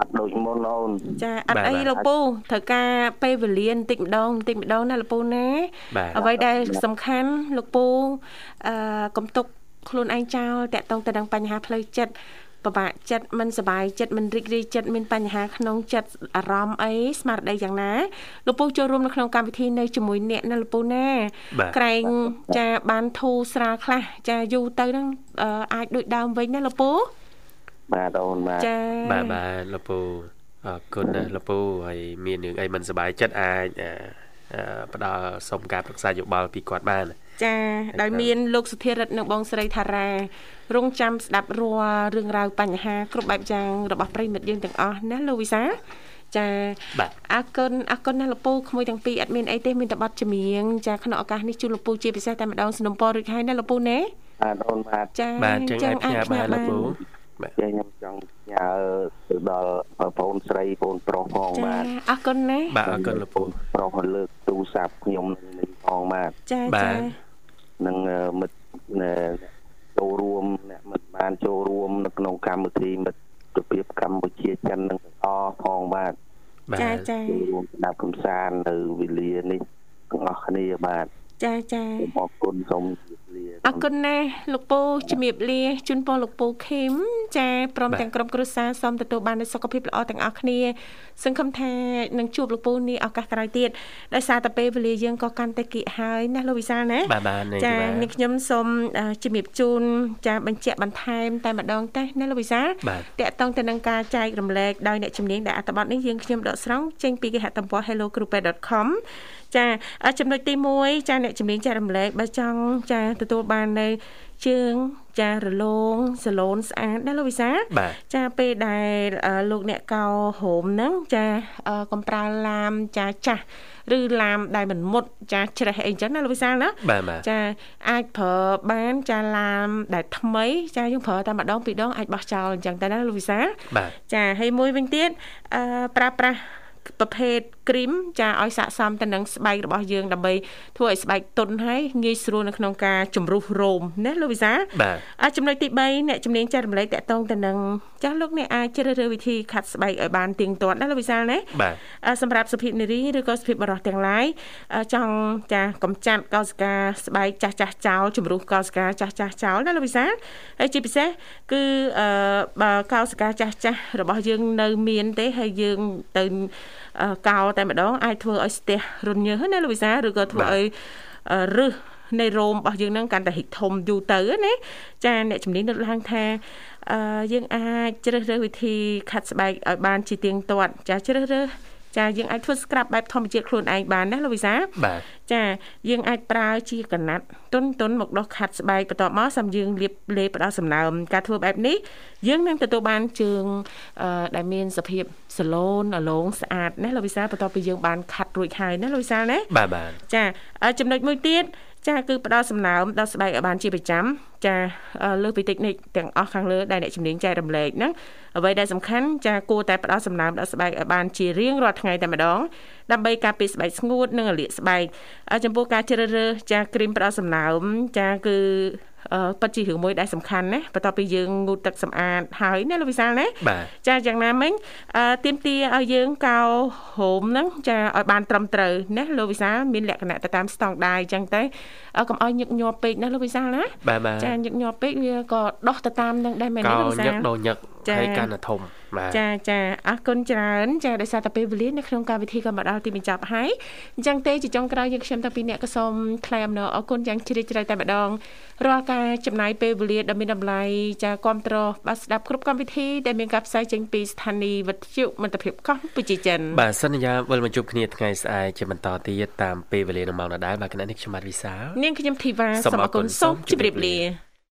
Speaker 6: អត់ដូចមុនអូន
Speaker 3: ចាអ
Speaker 2: បា
Speaker 3: ត់
Speaker 2: ទ
Speaker 3: អី
Speaker 2: បាទ
Speaker 3: លោកពូត្រូវការពេលវេលាបន្តិចម្ដងបន្តិចម្ដងណាលោកពូណា
Speaker 2: បាទ
Speaker 3: អ្វីដែលសំខាន់លោកពូអឺកំទុកខ្លួនឯងចោលតាក់ទងទៅនឹងបញ្ហាផ្លូវចិត្តពិបាកចិត្តមិនសប្បាយចិត្តមិនរីករាយចិត្តមានបញ្ហាក្នុងចិត្តអារម្មណ៍អីស្មារតីយ៉ាងណាលោកពូចូលរួមនៅក្នុងកម្មវិធីនៅជាមួយអ្នកណាលោកពូណា
Speaker 2: បាទ
Speaker 3: ក្រែងចាបានធូរស្រាលខ្លះចាយូរទៅហ្នឹងអឺអាចដូចដើមវិញណាលោកពូ
Speaker 6: បាទអូនបាទ
Speaker 3: ចា
Speaker 2: បាទបាទលោកពូអរគុណណាស់លោកពូហើយមានរឿងអីមិនសប្បាយចិត្តអាចអឺអឺផ្ដល់សុំការប្រឹក្សាយោបល់ពីគាត់បាន
Speaker 3: ចាដោយមានលោកសុធារិទ្ធនៅបងស្រីថារារងចាំស្ដាប់រាល់រឿងរ៉ាវបញ្ហាគ្រប់បែបយ៉ាងរបស់ប្រិមិត្តយើងទាំងអស់ណាលោកវិសាចា
Speaker 2: បាទ
Speaker 3: អរគុណអរគុណណាស់លោកពូក្មួយទាំងពីរអត់មានអីទេមានតែប័ណ្ណជំនាញចាក្នុងឱកាសនេះជូនលោកពូជាពិសេសតែម្ដងสนុំពររួចហើយណាលោកពូណា
Speaker 6: បាទអូនបាទ
Speaker 3: ចា
Speaker 2: បាទអញ្ចឹងអាចផ្ញើបានលោកពូបាទ
Speaker 6: ចេះខ្ញុំចង់ផ្ញើទៅដល់បងអូនស្រីបងប្រុសផង
Speaker 3: ចា
Speaker 6: បាទ
Speaker 3: អរគុណណា
Speaker 2: បាទអរគុណលោកពូ
Speaker 6: ប្រុសលើកទូរស័ព្ទខ្ញុំនឹងនេះផងបាទ
Speaker 3: ចា
Speaker 2: បាទ
Speaker 3: ចា
Speaker 6: នឹងអឺមិត្តអឺចូលរួមអ្នកមិត្តបានចូលរួម នៅក្នុងកម្មវិធីមិត្តភាពកម្ពុជាចិននឹងទាំងអស់ផងបាទ
Speaker 2: បាទ
Speaker 3: ចាចា
Speaker 6: ចូលរួមស្ដាប់កំសាន្តនៅវេលានេះទាំងអស់គ្នាបាទ
Speaker 3: ចាចា
Speaker 6: សូមអរគុណសូមជម្រាប
Speaker 3: អរគុណណាស់លោកពូជំរាបលាជូនពរលោកពូខេមចាព្រម
Speaker 2: បាទ
Speaker 3: ទាំងក្រុមគ្រួសារសូមទទួលបាននូវសុខភាពល្អទាំងអស់គ្នា សង្ឃឹមថានឹងជួបលោកពូនេះឱកាសក្រោយទៀតដោយសារតែពេលវេលាយើងក៏កាន់តែគៀកហើយណាលោកវិសាលណា
Speaker 2: បាទបាទនេះ
Speaker 3: ចា
Speaker 2: បាទ
Speaker 3: នាងខ្ញុំសូមអឺជំរាបជូនចាបញ្ជាក់បន្ថែមតែម្ដងទេណាលោកវិសាល
Speaker 2: បាទ
Speaker 3: តកតងទៅនឹងការចែករំលែកដោយអ្នកជំនាញដែលអត្ថបទនេះយើងខ្ញុំដកស្រង់ចេញពីគេហទំព័រ hellogroup.com ចាអ่ะចំណុចទី1ចាអ្នកជំនាញចែករំលែកបើចង់ចាទទួលបាននៅជើងចារលោងសាឡូនស្អាតណាលោកវិសាល
Speaker 2: បាទ
Speaker 3: ចាពេលដែលអឺលោកអ្នកកោហោមហ្នឹងចាអឺកំប្រើឡាមចាចាស់ឬឡាមដែលមិនមុតចាជ្រេះអីចឹងណាលោកវិសាលណា
Speaker 2: បាទបាទ
Speaker 3: ចាអាចប្រើបានចាឡាមដែលថ្មី ចាយើងប្រើតែម្ដងពីរដងអាចបោះចោលអញ្ចឹងតែណាលោកវិសាល
Speaker 2: បាទ
Speaker 3: ចាហើយមួយវិញទៀតអឺប្រើប្រាស់ប្រភេទគ្រីមចាឲ្យស័កសមទៅនឹងស្បែករបស់យើងដើម្បីធ្វើឲ្យស្បែកទន់ហើយងាយស្រួលនៅក្នុងការជំរុះរោមណាលោកវិសាល
Speaker 2: បាទ
Speaker 3: អ่ะចំណុចទី3អ្នកជំនាញចែករំលែកតកតងទៅនឹងចាស់លោកអ្នកអាចជ្រើសរើសវិធីខាត់ស្បែកឲ្យបានទៀងទាត់ណាលោកវិសាលណា
Speaker 2: បាទ
Speaker 3: អ่าសម្រាប់សុភាពនារីឬក៏សុភាពបរិសទាំងឡាយអ่าចង់ចាកំចាត់កោសិកាស្បែកចាស់ចាស់ចោលជំរុះកោសិកាចាស់ចាស់ចោលណាលោកវិសាលហើយជាពិសេសគឺអឺបើកោសិកាចាស់ចាស់របស់យើងនៅមានទេហើយយើងទៅអឺកោតែម្ដងអាចធ្វើឲ្យស្ទះរញើសណាលោកវិសាលឬក៏ធ្វើ
Speaker 2: បាទ
Speaker 3: ឲ្យអឺរឹសនៃរោមរបស់យើងហ្នឹងកាន់តែរីកធំយូរទៅណាចាអ្នកជំនាញលើកឡើងថា អឺយើងអាចជ្រើសរើសវិធីខាត់ស្បែកឲ្យបានជាទៀងទាត់ចាជ្រើសរើសចាយើងអាចធ្វើ scrap បែបធម្មជាតិខ្លួនឯងបានណាលោកវិសាល
Speaker 2: បាទ
Speaker 3: ចាយើងអាចប្រើជាកណាត់ទុនទុនមកដោះខាត់ស្បែកបន្ទាប់មកសំយើងលាបលេបផ្ដល់សំណើមការធ្វើបែបនេះយើងនឹងទទួលបានជើងអឺដែលមានសភាពសាឡូនអលងស្អាតណាលោកវិសាលបន្ទាប់ពីយើងបានខាត់រួចហើយណាលោកវិសាលណា
Speaker 2: បាទបាទ
Speaker 3: ចាអ่าចំណុចមួយទៀតចាគឺផ្ដល់សំណើមដល់ស្បែកឲ្យបានជាប្រចាំចាអ่าលើសពីតិចនិចទាំងអស់ខាងលើដែលអ្នកជំនាញចែករំលែកហ្នឹងអ្វីដែលសំខាន់ចាគួរតែផ្ដល់សំណើមដល់ស្បែកឲ្យបានជារៀងរាល់ថ្ងៃតែម្ដងដើម្បីការពារស្បែកស្ងួតនិងរលាកស្បែកអ่าចំពោះការជ្រើសរើសចាគ្រីមផ្ដល់សំណើមចាគឺអឺពិតជារឿងមួយដែលសំខាន់ណាបន្ទាប់ពីយើងងូតទឹកសម្អាតហើយណាលោកវិសាលណា
Speaker 2: បាទ
Speaker 3: ចាយ៉ាងណាមិញអឺទៀមទាឲ្យយើងកោហូមហ្នឹងចាឲ្យបានត្រឹមត្រូវណាលោកវិសាលមានលក្ខណៈទៅតាមស្តង់ដារអញ្ចឹងទៅអឺកុំឲ្យញឹកញាប់ពេកណាលោកវិសាលណា
Speaker 2: បាទបាទ
Speaker 3: ចាញឹកញាប់ពេកវាក៏ដោះទៅតាមនឹងដែរមែនទេ
Speaker 2: កោ
Speaker 3: លោកវិសា
Speaker 2: ញឹក
Speaker 3: ល
Speaker 2: ដោញឹក
Speaker 3: ចា៎
Speaker 2: ហើយកាន់តែធំ បាទ
Speaker 3: ចាចាអរគុណច្រើនចាដោយសារតែពេលវេលានៅក្នុងកម្មវិធីក៏មកដល់ទីបញ្ចប់ហើយអញ្ចឹងទេជាចុងក្រោយយើងខ្ញុំតាំងពីអ្នកក៏សូមថ្លែងអំណរអរគុណយ៉ាងជ្រាលជ្រៅតែម្ដងរាល់ការចំណាយពេលវេលាដ៏មានតម្លៃចាគ្រប់តរបាទស្ដាប់គ្រប់កម្មវិធីដែលមានការផ្សាយចេញពីស្ថានីយ៍វិទ្យុមិត្តភាពកម្ពុជាចិន
Speaker 2: បាទសន្យាវិលមកជួបគ្នាថ្ងៃស្អែកជាបន្តទៀតតាមពេលវេលានៅម៉ោងដដែលបាទគណៈនេះខ្ញុំបាទវិសាល
Speaker 3: នាងខ្ញុំធីវ៉ា
Speaker 2: សូ
Speaker 3: សូម
Speaker 2: ម
Speaker 3: អ
Speaker 2: អ
Speaker 3: រ
Speaker 2: រគុ
Speaker 3: គុណ
Speaker 2: ណ
Speaker 3: សូម
Speaker 2: សូម
Speaker 3: ជម្រាប
Speaker 2: ជម្រា
Speaker 3: លា
Speaker 2: បលា